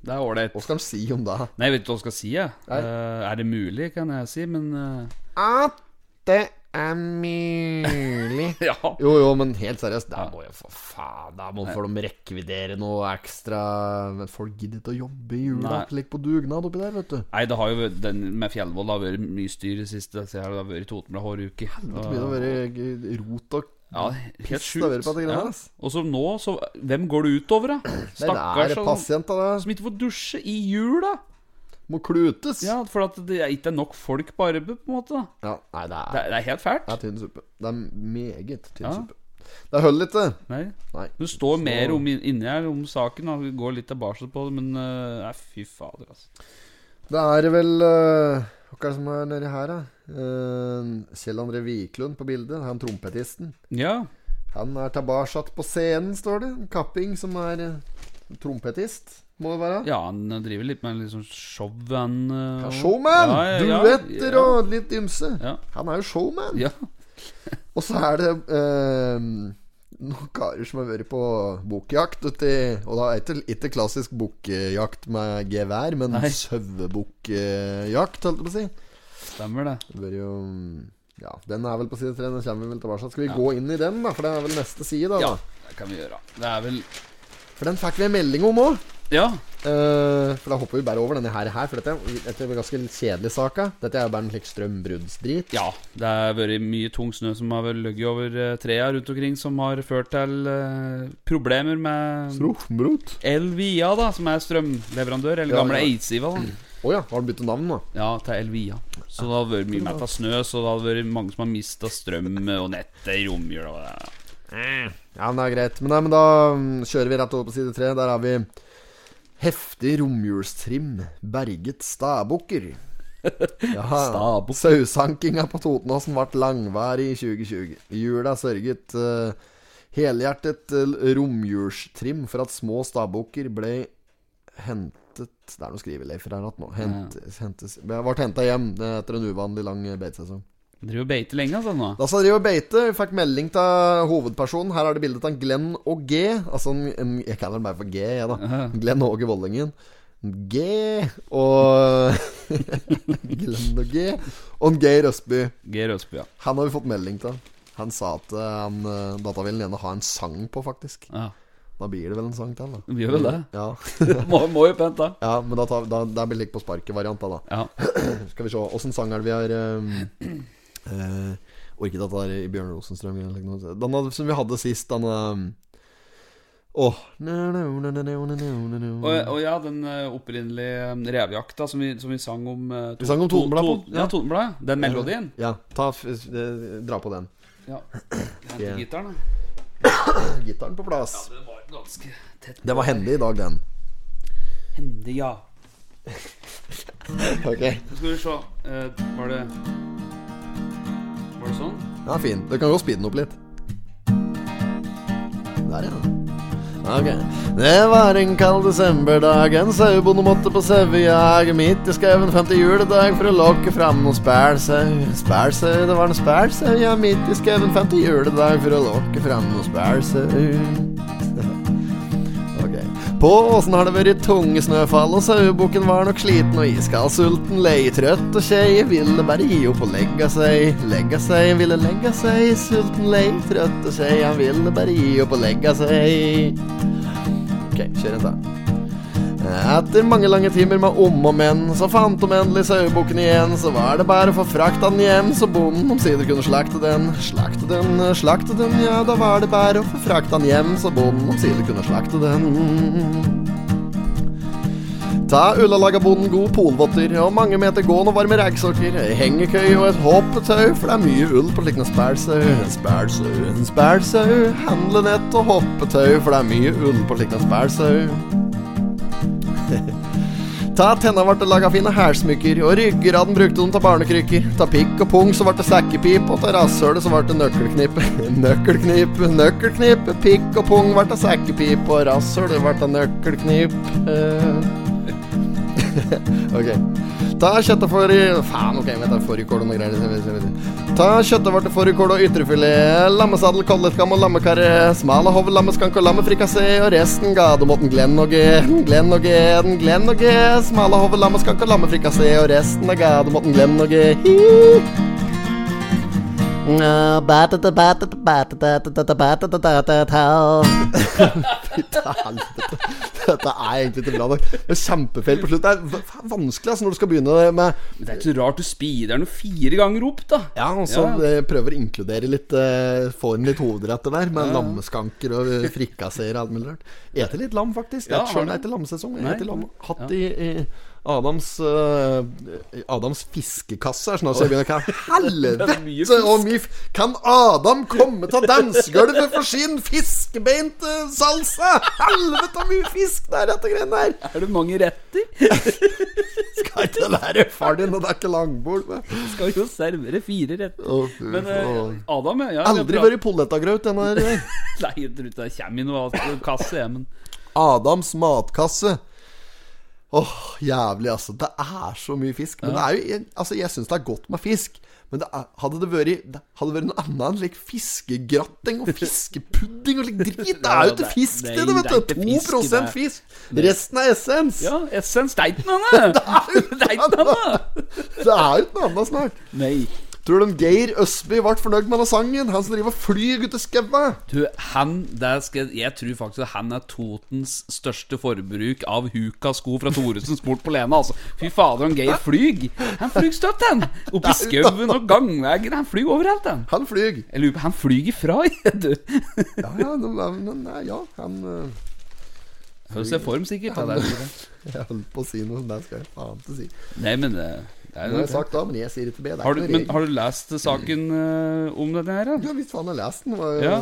det er ålreit. Hva skal en si om det? Nei, jeg vet ikke hva jeg skal si, jeg. Nei. Eh, er det mulig, kan jeg si, men eh, At det er mulig Ja. Jo, jo, men helt seriøst, der må jo for faen Der må for de rekvidere noe ekstra Men folk gidder ikke å jobbe i jula. Nei. Ligge på dugnad oppi der, vet du. Nei, det har jo vært- den med Fjellvoll det har vært mye styr i det siste. Jeg ser her, Det har vært Totenblad hver uke. Det begynner å Ah. være g- rot og Ja, helt Piss, det har vært på sjukt. det greiene, ass. Og så nå, så Hvem går det utover, da? Nei, det Stakkars er som, pasienter der som ikke får dusje i jula! som må klutes. Ja, for at det er ikke nok folk på arbeid, på en måte. da Ja, nei, det Det er, er, det er helt fælt. det er tynn suppe. Det er meget tynn Ja. suppe. Det holder ikke. Nei. Nei. Du står mer om, inni her om saken, og vi går litt tilbake på det, men eh, nei, fy fader, altså. Det er vel øh, Hva er det som er nedi her, da? Eh, Kjell André Wiklund på bildet. Han trompetisten. Ja. Han er tilbake på scenen, står det. En kapping som er eh, trompetist, må det være. ja, han driver litt med litt sånn show, han eh, og- Showman! Ja, ja, ja, Duetter ja. og litt ymse. Ja. Han er jo showman. Ja. Og så er det eh, noen karer som har vært på bukkjakt uti Og da er det ikke- ikke klassisk bukkjakt med gevær, men Nei. sauebukkjakt, holdt jeg på å si. Stemmer det. Det bør jo Ja, den er vel på side tre. Den kommer vi vel tilbake Skal vi gå inn i den, da? For det er vel neste side, da. Ja, det kan vi gjøre. Det er vel For den fikk vi en melding om òg. Ja. Eh, for da hopper vi bare over denne her, her for dette, dette er en ganske litt kjedelig sak. da. Dette er jo bare en slik strømbruddsdrit. ja. Det har vært mye tung snø som har vel ligget over eh, trærne rundt omkring, som har ført til eh, problemer med Strømbrud? Elvia, da, som er strømleverandør, eller Ja, gamle ja. Eidsiva. da Å ja, har den byttet navn, da? Ja, til Elvia. Så det hadde vært mye mer av snø, så det hadde vært mange som har mista strøm og nettet i romjula. og det- Ja, men det er greit. Men, nei, men da mm, kjører vi rett over på side tre. Der har vi heftig romjulstrim. Berget stabukker. Ja, Stabukker. Sausankinga på Totenåsen ble langvarig i 2020. Jula sørget eh, helhjertet eh, romjulstrim for at små stabukker ble hentet Det er noe skriveleif her igjen nå. Hent, hentes, ble henta hjem eh, etter en uvanlig lang eh, beitesesong. Den Driver og beiter lenge, altså, nå. Da skal han drive og beite. Vi fikk melding til hovedpersonen. Her er det bildet av Glenn og G. Altså en, en, Jeg kaller han bare for G, jeg, da. Glenn Åge Vollingen. G og [LAUGHS] Glenn og G. Og en Geir Østby. Geir Østby, ja. Han har vi fått melding til. Han sa at eh, han, eh, data vil gjerne ha en sang på, faktisk. ja. Da blir det vel en sang til, da. Vi gjør vel [LAUGHS] det. Ja, [LAUGHS] Må, må jo pent, da. ja men da, tar, da, da blir det litt på sparket-variant, da. da. Ja. Skal vi se, åssen sang er det vi har um, uh, Orket at det er i Bjørn Rosenstrøm eller noe. Den hadde, som vi hadde sist, den um, Åh Og, og ja, den eh, opprinnelige eh, revjakta som vi, som vi sang om eh, to- Vi sang om to- Totenbladet på- to- Ja, ja. Totenbladet. Den melodien. Ja, ta, f- eh, dra på den. Ja. Hente gitaren, da. Gitaren på plass. Den var ganske tett Det var hendig i dag, den. hendig, ja. Ok Så skal vi se. eh, var det Var det sånn? Den er fin. Du kan godt speede den opp litt. Der, ja. Ok. Det var en kald desemberdag. En sauebonde måtte på sauejag. Midt i skauen fant de juledag for å lokke fram noen spælsau. Spælsau, det var en spælsau, ja. Midt i skauen fant de juledag for å lokke fram noen spælsau. Ok. På åsen har det vært tunge snøfall, og sauebukken var nok sliten og iskald, sulten, lei, trøtt og kjei, ville bare gi opp og legge seg, legge seg, ville legge seg, sulten, lei, trøtt og kjei, han ville bare gi opp og legge seg. Ok, kjør en sang. Etter mange lange timer med om og men, så fant de endelig sauebukken igjen. Så var det bare å få frakta den hjem, så bonden omsider kunne slakte den. Slakte den, slakte den, ja, da var det bare å få frakta den hjem, så bonden omsider kunne slakte den. Ta Ulla laga bonden god polvotter og mange meter gående og varme ragsokker. ei Hengekøye og et hoppetau, for det er mye ull på slikne spælsau. En spælsau, en spælsau. Handlenett og hoppetau, for det er mye ull på slikne spælsau. Ta tenna ble det laga fine hærsmykker, og ryggraden brukte de til barnekrykker. Ta pikk og pung så ble det sekkepip, og ta rasshølet så ble det [LAUGHS] nøkkelknipp. nøkkelknipp, nøkkelknipp. Pikk og pung ble det sekkepip, og rasshølet ble det nøkkelknipp. Eh. ok. Ta kjøttefår i Faen, ok, vent, det er fårikål og noe greier. jeg vet ikke, jeg vet ikke. Ta kjøttefår til fårikål og ytrefilet. Lammesadel, kolleskam og lammekarre. Smale hov, lammeskank og lammefrikassé. Og resten ga du mot en Glenn og G. En Glenn og G, en Glenn og G. Smale hov, lammeskank og lammefrikassé. Og resten ga du mot en Glenn og G. Hi. Nå, batata, batata, batata, batata, batata, batata. [LAUGHS] Fy til helvete. [LAUGHS] Dette er egentlig ikke bra nok. Det er kjempefeil på slutt. Det er v- faen vanskelig altså, når du skal begynne med Men det er ikke så rart du speeder noe fire ganger opp, da. Ja, og så Ja. eh, prøver å inkludere litt eh, Få inn litt hovedretter der, med lammeskanker og eh, frikasseer og alt mulig rart. Eter litt lam, faktisk. Det Ja, er har sjøl du? det er ikke lammesesong. Jeg Nei. eter lam. Hatt i, i Adams eh, Adams fiskekasse er sånn at jeg begynner å kalle [LAUGHS] Det er mye Helvete fisk. og mye f- Kan Adam komme til dansegulvet for sin fiskebeinte salsa? Helvete og mye fisk det er dette greiene der! Er det mange [LAUGHS] retter? Skal ikke være far din, og det er ikke langbord. Men. Skal jo servere fire retter. Å, fy Men eh, faen. Adam, ja. vi har Aldri prat- vært pollettagraut, den her. [LAUGHS] Nei, jeg tror ikke det kommer i noe alt- kasse, jeg, men Adams matkasse. Åh, jævlig, altså. Det er så mye fisk. Men det er jo Altså, jeg syns det er godt med fisk. Men det er, hadde det vært det Hadde vært noe annet enn like fiskegratting og fiskepudding og like drit Det er jo ikke det- fisk, det er- det, det, det er vet ikke du. fisk i 2 det. fisk. Resten er essens. Ja, essens deiten [LAUGHS] henne! Deiten henne! Det er jo ikke noe annet snart. Nei. Tror du om Geir Østby ble fornøyd med denne sangen? Han som driver og flyr ut i skauen? Du, han der skal, Jeg tror faktisk at han er Totens største forbruk av Huka-sko fra Thoresens bort på Lena. Altså. Fy fader, han Geir flyg! Han flyg støtt, han! Oppi skauen og gangveier. Han flyg overalt, han. Han flyr. Jeg lurer på Han flyg ifra, [LAUGHS] du. Ja, ja, men, nei, ja, han eh, Høres i form, sikkert. Ja, det er sikkert. [LAUGHS] Jeg holdt på å si noe, men det skal jeg faen ikke si. Nei, men det, det er Det har jo jeg sagt da, men jeg sier ikke B. Det er har du, ikke noe men regel. har du lest saken eh, om dette her? da? Ja, hvis faen jeg har lest den. Det var jo Ja.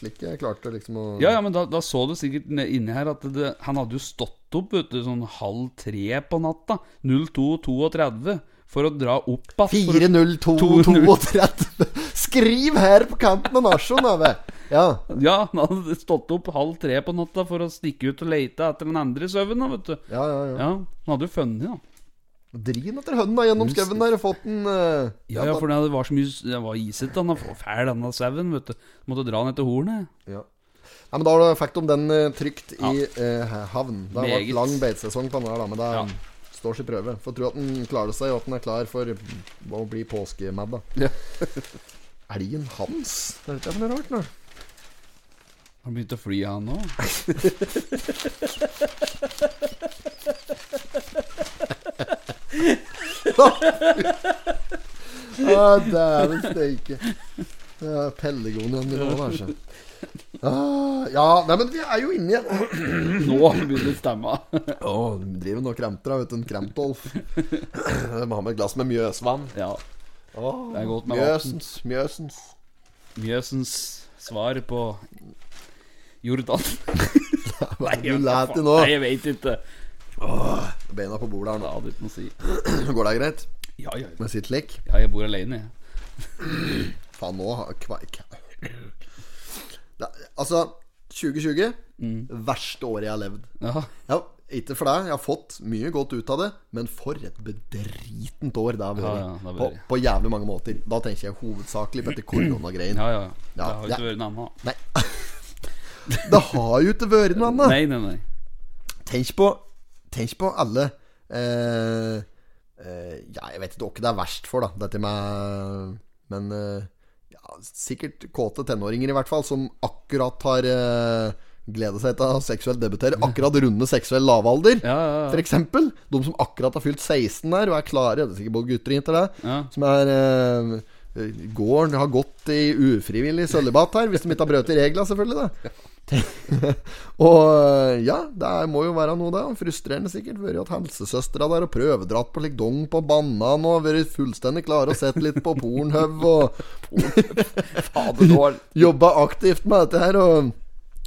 slik jeg klarte liksom å Ja, ja, men da, da så du sikkert ne- inni her at det, han hadde jo stått opp vet du, sånn halv tre på natta. 02.32 for å dra opp igjen. for å- 40232 Skriv her på kanten av nasjonen, Ave! Ja. [LAUGHS] Ja, han hadde stått opp halv tre på natta for å stikke ut og leite etter den andre sauen, da, vet du. Ja, ja, ja. Ja, han hadde jo funnet, da. Drin etter hønda gjennom skauen der og fått den eh, Ja, ja, for det var så mye s- Det var isete, han var fæl, denne sauen, vet du. Måtte dra han etter hornet. ja. Nei, men Da har du- fikk de den eh, trygt i eh, havn. Det har vært Meget. lang beitesesong på den her, da, men det Ja. står sin prøve. Får tro at den klarer seg, og at den er klar for å bli påskemad, da. [LAUGHS] Ja. Elgen hans? Det er ikke for noe rart, [LAUGHS] nå. Han begynte å fly, han òg. Ah, Dæven steike. Ja, Pellegon igjen, det må være ah, Ja, nei, men vi er jo inni Å, [LAUGHS] [CLEARS THROAT] Nå begynner stemma. de driver nå og kremter, da, vet du. En kremtolf. [CLEARS THROAT] De har med et glass med mjøsvann. [LAUGHS] Ja. Åh, Det er godt med vann. mjøsens, mjøsens. Mjøsens svar på Jordan. Hva [LAUGHS] Jeg er det du vet lærer da til faen. nå? Nei, jeg vet ikke. Beina på bordet her Det nå. [CLEARS THROAT] hadde ikke noe å si. Går det greit? Ja, ja, Med sitt lek? ja jeg bor alene, jeg. Faen, nå har kva- kva- Det- Altså 2020, Mm. verste året jeg har levd. Ja. Ja, ikke for deg. Jeg har fått mye godt ut av det, men for et bedritent år det har vært. Ja, ja, det har vært. på, på jævlig mange måter. Da tenker jeg hovedsakelig [CLEARS THROAT] på dette koronagreien. Ja, ja. Det har jo det- ikke vært noe annet. Nei. [LAUGHS] det har jo ikke vært noe annet. Nei, nei, nei. Tenk på Tenk på alle eh, eh, Ja, jeg vet ikke hva det er verst for, da, dette med Men eh, ja, sikkert kåte tenåringer, i hvert fall, som akkurat har eh, gleda seg til å seksuelt debutere. Akkurat runde seksuell lavalder. Ja, ja, ja. For eksempel, de som akkurat har fylt 16 der og er klare, det er sikkert både gutter og jenter der, Ja. som er eh, Gården har gått i ufrivillig sølibat her, hvis de ikke har brøt i regla, selvfølgelig. da [LAUGHS] Og eh, ja, det er- må jo være noe, det. Frustrerende sikkert. Vært at helsesøstera der og prøvedratt på litt dong på banan og vært fullstendig klare og sett litt på pornhub og Fader, nå har jobba aktivt med dette her. Og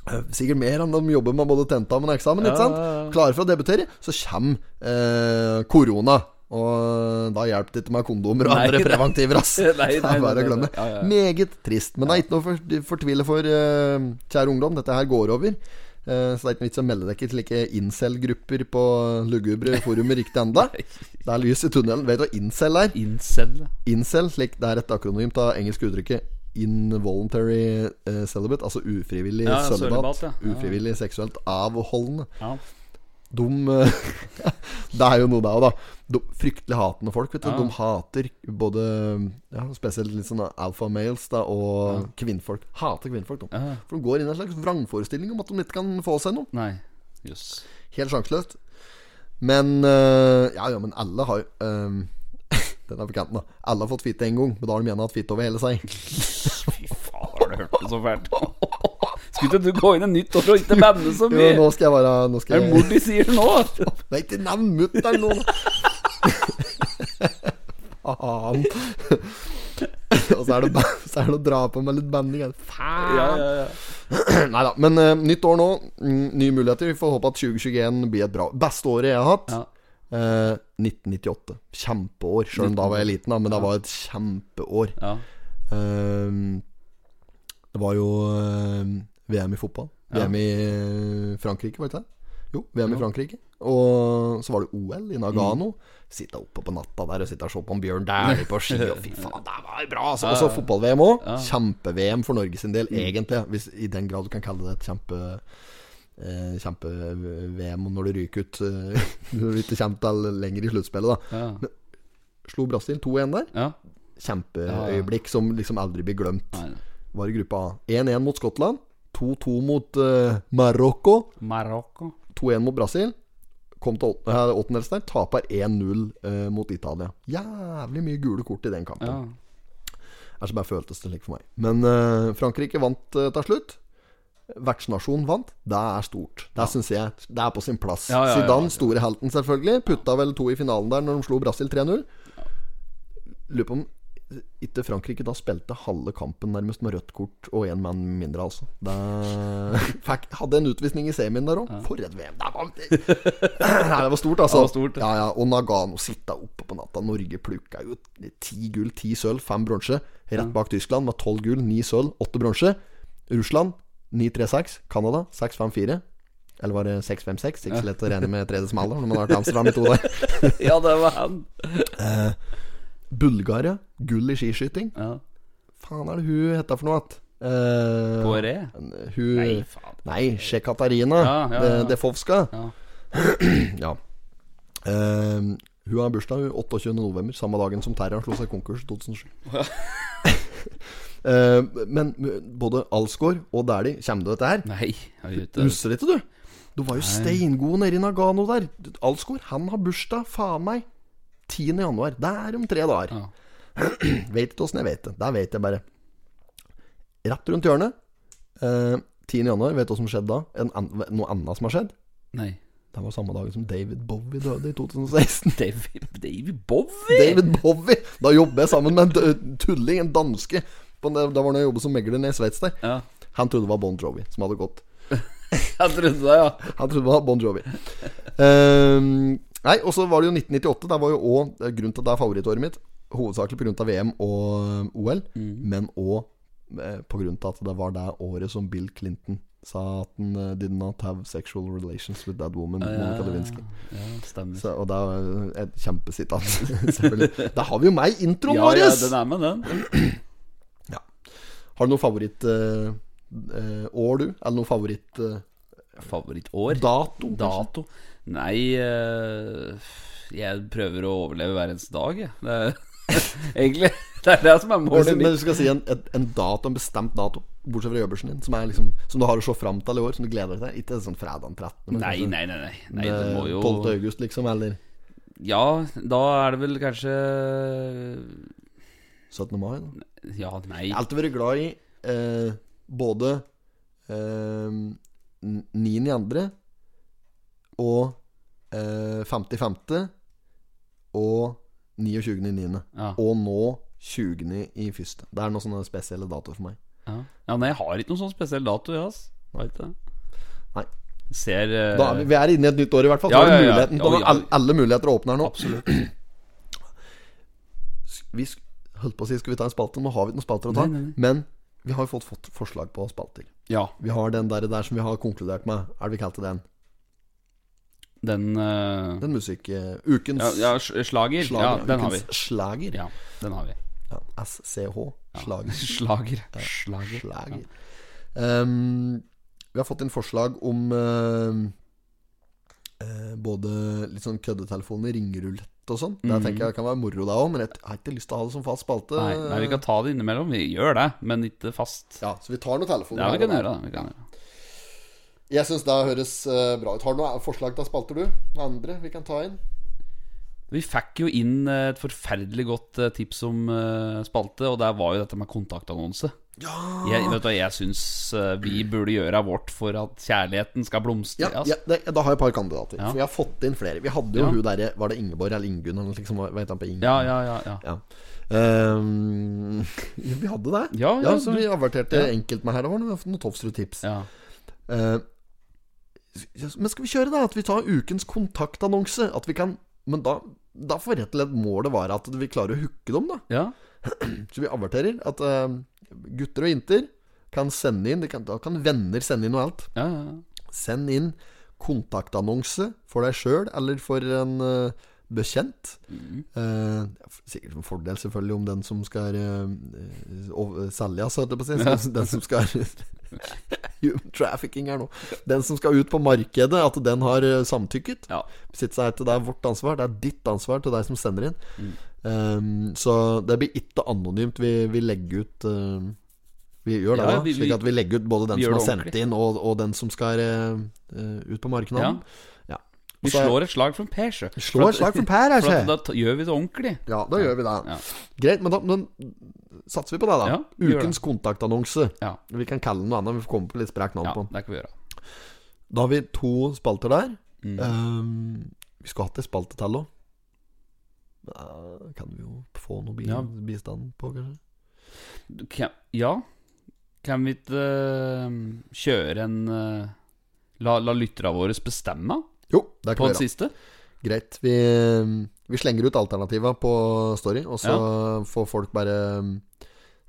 eh, sikkert mer enn de jobber med både tentamen og eksamen. Ikke sant? Klare for å debutere, så kommer eh, korona. Og eh, da hjelper det ikke med kondomer og Nei, andre nei. preventiver. Ass. [LAUGHS] Nei, nei, det er nei, bare å nei, nei. glemme. Ja, ja, ja. Meget trist. Men det er ikke noe for, fortvile for eh, kjære ungdom. Dette her går over. Eh, så det er ikke noe vits å melde deg ikke til like incel-grupper på lugubre forumer [LAUGHS] riktig enda. Det er lys i tunnelen. Vet du hva incel er? [LAUGHS] incel. Incel, slik det er et akronymt av engelsk uttrykket involuntary eh, celibate, altså ufrivillig Ja, ja, sølibat. sølibat, ja. Ja. Ufrivillig seksuelt avholdende. Ja. De eh, [LAUGHS] Det er jo noe der òg, da. De, fryktelig hatende folk. vet du Ja. De hater både ja, Spesielt litt sånn alpha males da og kvinnfolk. Hater kvinnfolk, de. Ja. For de går inn i en slags vrangforestilling om at de ikke kan få seg noe. Nei. Jøss. Helt sjanseløst. Men øh, Ja, ja, men alle har øh, [LAUGHS] Den er på kanten, da. Alle har fått fitte én gang, men da har de igjen hatt fitte over hele seg. [LAUGHS] Fy faen, har du hørt det så fælt? [LAUGHS] Skulle ikke du gå inn i nytt år og ikke banne så Jo, nå mye? skal jeg være Nå Det skal er jeg mor de sier det nå. Nei, ikke nevn mutter'n [LAUGHS] nå! Faen. [LAUGHS] Og så er, det, ba- så er det å dra på med litt banding. her. Faen! Ja, ja, ja. Nei da. Men øh, nytt år nå. Mm, nye muligheter. Vi får håpe at 2021 blir et bra beste året jeg har hatt. Ja. Eh, 1998. Kjempeår. Sjøl om da var jeg liten, da, men det var et kjempeår. ja. Ehm, det var jo ehm, VM i fotball. Ja. VM i eh, Frankrike, var det ikke det? Jo, VM i Frankrike. Og så var det OL i Nagano. Sitte oppe på natta der og sitte og se på en Bjørn Dæhlie på ski. Og fy faen, det var bra! Altså, Og så fotball-VM òg. Kjempe-VM for Norge sin del, egentlig. Hvis, I den grad du kan kalle det et kjempe... Eh, Kjempe-VM når du ryker ut eh, [LAUGHS] Når du ikke kommer til lenger i sluttspillet, da. ja. Slo Brasil 2-1 der ja. kjempeøyeblikk som liksom aldri blir glemt. Nei, nei. Var i gruppa A. 1-1 mot Skottland, 2-2 mot eh, Marokko, Marokko. 2-1 mot Brasil. Kom til åt- eh, åttendels der, taper 1-0 eh, mot Italia. Jævlig mye gule kort i den kampen. Ja. Altså bare føltes det slik for meg. Men eh, Frankrike vant eh, til slutt. Vertsnasjonen vant. Det er stort. Det synes jeg Det er på sin plass. Ja, ja, ja, Zidane, store helten, selvfølgelig. Putta vel to i finalen der når de slo Brasil 3-0. Lurer på om ikke Frankrike da spilte halve kampen nærmest med rødt kort og én mann mindre, altså. [LAUGHS] Det fikk, hadde en utvisning i semien der òg. For et VM! Det var, [LAUGHS] Nei, det var stort, altså. Det var stort, det. Ja, ja, og Nagano sitta oppe på natta. Norge plukka jo ti gull, ti sølv, fem bronse. Rett bak Tyskland var tolv gull, ni sølv, åtte bronse. Russland 9-3-6. Canada 6-5-4. Eller var det 6-5-6? Ikke så lett å regne med tredje smaller når man har vært i Amsterdam i to dager. [LAUGHS] ja, det var han. Bulgaria, gull i skiskyting. Ja. Faen er det hun heta for noe att? Eh, Poiré? Hun Nei, faen. Nei, Sjekatarina Ja, ja, ja. De- Defovska. Ja. [CLEARS THROAT] Ja. Eh, hun har bursdag hun, 28. november, samme dagen som Terra slo seg konkurs i 2007. [LAUGHS] Eh, men både Alsgaard og Dæhlie, kommer du dette her? Nei, jeg har ikke det. Husker det ikke, du? Du var jo steingod nede i Nagano der. Alsgaard, han har bursdag, faen meg. 10. januar. Det er om tre dager. Ja. [CLEARS THROAT] Vet ikke åssen jeg vet det. Der vet jeg bare. Rett rundt hjørnet. Eh, 10. januar, vet du hva som skjedde da? En, an- noe annet som har skjedd? Nei. Det var samme dagen som David Bowie døde i 2016. David, David Bowie? [LAUGHS] David Bowie! Da jobber jeg sammen med en dø- tulling, en danske. På, da var det jeg jobbet som megler nede i Sveits der. Ja. Han trodde det var Bon Jovi som hadde gått. Jeg trodde det, ja. Han trodde det var Bon Jovi. Ehm, nei, og så var det jo 1998. Der var jo òg grunnen til at det er favorittåret mitt. Hovedsakelig pga. Mm. VM eh, og OL, men òg pga. at det var det året som Bill Clinton sa at han eh, did not have sexual relations with that woman, Monica Lewinsky. Ja, stemmer. Så, og det er jo et kjempesitat, [LAUGHS] selvfølgelig. Da har vi jo meg i introen Ja, vår! ja, den er med, den. Har du noe favorittår, eh, år, du? Eller noe favorittdato? Favorittår? dato kanskje? Dato? Nei eh, Jeg prøver å overleve hver eneste dag, jeg. Det er, [LAUGHS] egentlig. Det er det som er Hvis- målet Men mitt. du skal si en, et- en dato, en bestemt dato, bortsett fra øvelsen din, som, er liksom, som du har å se fram til i år, som du gleder deg til. Ikke sånn fredag den 13. men Nei, kanskje nei, nei. nei, nei det må jo 12. august, liksom, eller Ja, da er det vel kanskje 17. mai. Da. Ja, nei Jeg har alltid vært glad i eh, både eh, 9. i andre og eh, 50.5. og 29. i 9. Ja. Og nå 20. i første. Det er noen sånne spesielle datoer for meg. Ja. ja, nei, jeg har ikke noen sånn spesiell dato, jeg, ass. Vet du det? Nei. Ser eh, Da er vi, vi er inne i et nytt år, i hvert fall. Så Ja, er det ja, ja. muligheten Ja, på, ja. alle, alle muligheter åpner nå. Absolutt. Vi sk- holdt på å si skulle vi ta en spalte. Nå har vi ikke noen spalter å ta. Nei, nei, nei. Men vi har jo fått, fått forslag på spalter. Ja. Vi har den der, der som vi har konkludert med. Er det vi kalte den? Den, eh, Den musikk... eh, ukens ja, ja, s- slager. slager. Ja, den har vi. ukens slager. Ja, den [LAUGHS] har vi. Ja, SCH. Slager. Slager. Slager. Slager. Ehm, vi har fått inn forslag om eh, eh, både litt sånn køddetelefoner, ringerulett og sånn. Mhm. Det tenker jeg kan være moro, da òg, men jeg har ikke lyst til å ha det som fast spalte. Nei, nei, vi kan ta det innimellom. Vi gjør det, men ikke fast. Ja, Så vi tar noen telefoner. Ja, vi her kan og der. gjøre det. Vi kan gjøre. det. Jeg syns det høres eh, bra ut. Har du noen forslag til spalter, du? Noen andre vi kan ta inn? Vi fikk jo inn eh, et forferdelig godt eh, tips om eh, spalte, og der var jo dette med kontaktannonse. Jeg, vet du, hva, jeg syns eh, vi burde gjøre vårt for at kjærligheten skal blomstre. Ja, ass. ja, det, da har jeg et par kandidater. Ja. For jeg har fått inn flere. Vi hadde jo Ja. hun derre Var det Ingeborg eller Ingunn? eller Liksom, hva heter han på Ingunn? Ja, ja, ja, ja. Ja. Ehm, [LAUGHS] ja, vi hadde det. Ja, altså, ja, så- vi averterte enkelt med her. Det var noe, noe Tofsrud-tips. ja. Eh, ja, men skal vi kjøre det? At vi tar ukens kontaktannonse? At vi kan Men da, da får rett og slett målet være at vi klarer å hooke dem, da. ja. Så vi averterer at eh, gutter og jenter kan sende inn de kan, Da kan venner sende inn og alt. ja, ja. Send inn kontaktannonse for deg sjøl eller for en eh, bekjent. Eh, sikkert en fordel, selvfølgelig, om den som skal uh, selge, altså, holdt jeg på å si. Så Den som skal [LAUGHS] Human trafficking her nå. Den som skal ut på markedet, at den har eh, samtykket. Ja. Hvis ikke så er det det er vårt ansvar. Det er ditt ansvar til deg som sender inn. Mm. Ehm, så det blir ikke anonymt. Vi, vi legger ut eh, Vi gjør det, Ja, da. vi- vi- slik at vi legger ut både vi den som gjør har det sendt ordentlig. inn, og, og den som skal eh, eh, ut på markedet. Ja. Vi Og så er- slår et slag for en Per, sjø. Slår et [LAUGHS] slag for en Per, her, For at sjø. Da ta- gjør vi det ordentlig. Ja, da gjør vi det. Ja. Greit, men da men, satser vi på det, da. Ja, vi gjør Ukens kontaktannonse. Ja. Vi kan kalle den noe annet. Vi får komme på litt sprekt navn ja, på den. det kan vi gjøre. Mm. Da har vi to spalter der. Ehm, vi skulle hatt ei spalte til òg. Kan vi jo få noe bi Ja. bistand på, kanskje? Du kan- Ja, kan vi ikke eh, kjøre en eh, La, la lytterne våre bestemme Jo, det på kan den vi gjøre. siste? Greit. Vi, vi slenger ut alternativa på Story, og så får folk bare um,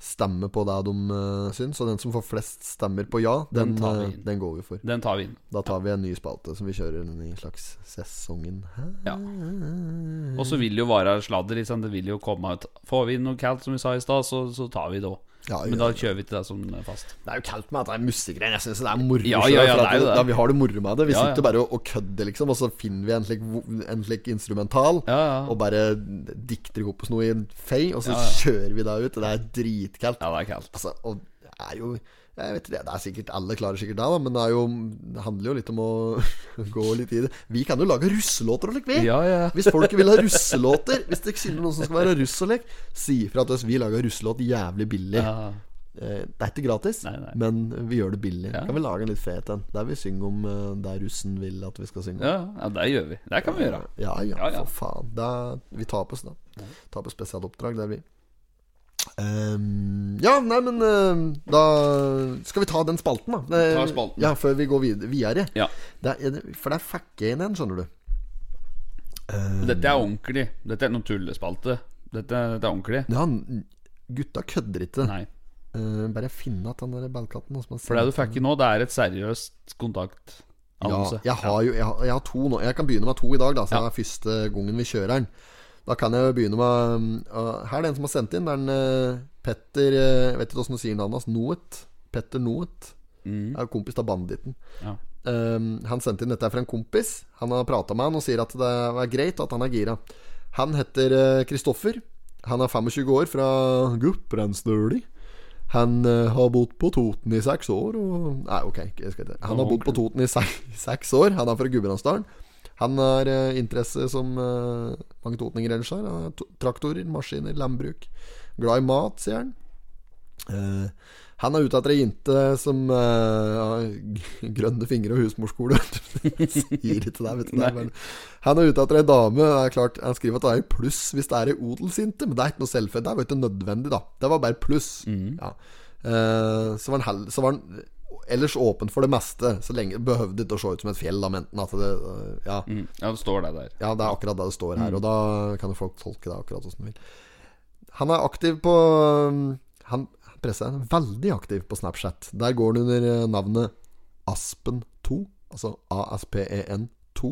stemme på det de eh, syns. Og den som får flest stemmer på ja, den, Den tar vi eh, inn. den går vi for. Den tar vi inn. Da tar vi en ny spalte som vi kjører den i slags sesongen. Ja. Og så vil det jo være sladder. ikke sant? Det vil jo komme ut Får vi inn noe kaldt, som vi sa i stad, så, så tar vi det òg. Ja, Men ja, da kjører vi til det som er fast. Det er jo kaldt med at det er musikere. Jeg syns det er moro. Ja, ja, ja, selv, for det er jo at det. Da vi har det moro med det. Vi Ja, ja. sitter bare og, og kødder, liksom, og så finner vi en slik, vo- en slik instrumental. Ja, ja. Og bare dikter ihop oss noe i en fei, og så Ja, ja. kjører vi da ut. Og det er dritkaldt. Ja, det er kaldt. Altså, og det er jo jeg vet ikke, det er sikkert Alle klarer sikkert det, da men det, er jo, det handler jo litt om å [LAUGHS] gå litt i det. Vi kan jo lage russelåter og slikt, vi! Ja, ja. Hvis folk vil ha russelåter Hvis det kjenner noen som skal være russ og lek, si ifra til oss. Vi lager russelåt jævlig billig. ja. Eh, Det er ikke gratis, Nei, nei. men vi gjør det billig. Ja. Kan vi lage en litt fet en? Der vi synger om eh, det russen vil at vi skal synge om. Eh, ja, ja det gjør vi. Det kan vi gjøre. Ja, ja, Ja, ja. for faen. Da, vi tar på oss det. Tar på spesialoppdrag, det er vi. Ehm, ja, nei, men eh, da skal vi ta den spalten, da. Det- Ta spalten. Ja, Før vi går vid videre. Ja. Det er, for der fikk jeg inn en, skjønner du. Eh, Dette er ordentlig. Dette er ikke noen tullespalte. Dette, dette er ordentlig. Ja, n- gutta kødder ikke. Nei. Eh, bare finne at den der ballkatten altså, nå som han For det sier. du fikk i nå, det er et seriøst kontaktannonse. Ja, jeg har jo jeg har, jeg har to nå. Jeg kan begynne med to i dag, da, så Ja. det er første gangen vi kjører den. Da kan jeg jo begynne med um, uh, Her er det en som har sendt inn. Det er en eh, Petter eh, Jeg vet ikke åssen du sier navnet hans. Noet. Petter Noet. Mm. Er jo kompis av banditten. Ja. Um, han sendte inn dette er fra en kompis. Han har prata med han og sier at det er greit at han er gira. Han heter eh, Kristoffer. Han er 25 år fra Gudbrandsdøli. Han eh, har bodd på Toten i seks år og Nei, ok. Jeg skal ikke. Han har bodd på Toten i seks, seks år. Han er fra Gudbrandsdalen. Han har eh, interesse som eh, mange totninger ellers har. Han har to- Traktorer, maskiner, landbruk. Glad i mat, sier han. Eh, han er ute etter ei jente som eh, har g- grønne fingre og husmorskole. [LAUGHS] Sier ikke det, vet du. Det er bare... Han er ute etter ei dame. Det er klart, Han skriver at det er et pluss hvis det er ei odelsjente, men det er ikke noe selvfølge. Det er jo ikke nødvendig, da. Det var bare pluss. Ja. Eh, så, var han hell... så var han ellers åpen for det meste, så lenge behøvde ikke å se ut som et fjell, da, men enten at det eh, Ja. Mm. Ja, det står det der. [LAUGHS] Ja, det er akkurat det det står her, og da kan jo folk tolke det akkurat sånn som de vil. Han er aktiv på mm, Han presser er veldig aktiv på Snapchat. Der går han under eh, navnet Aspen2, altså ASPEN 2.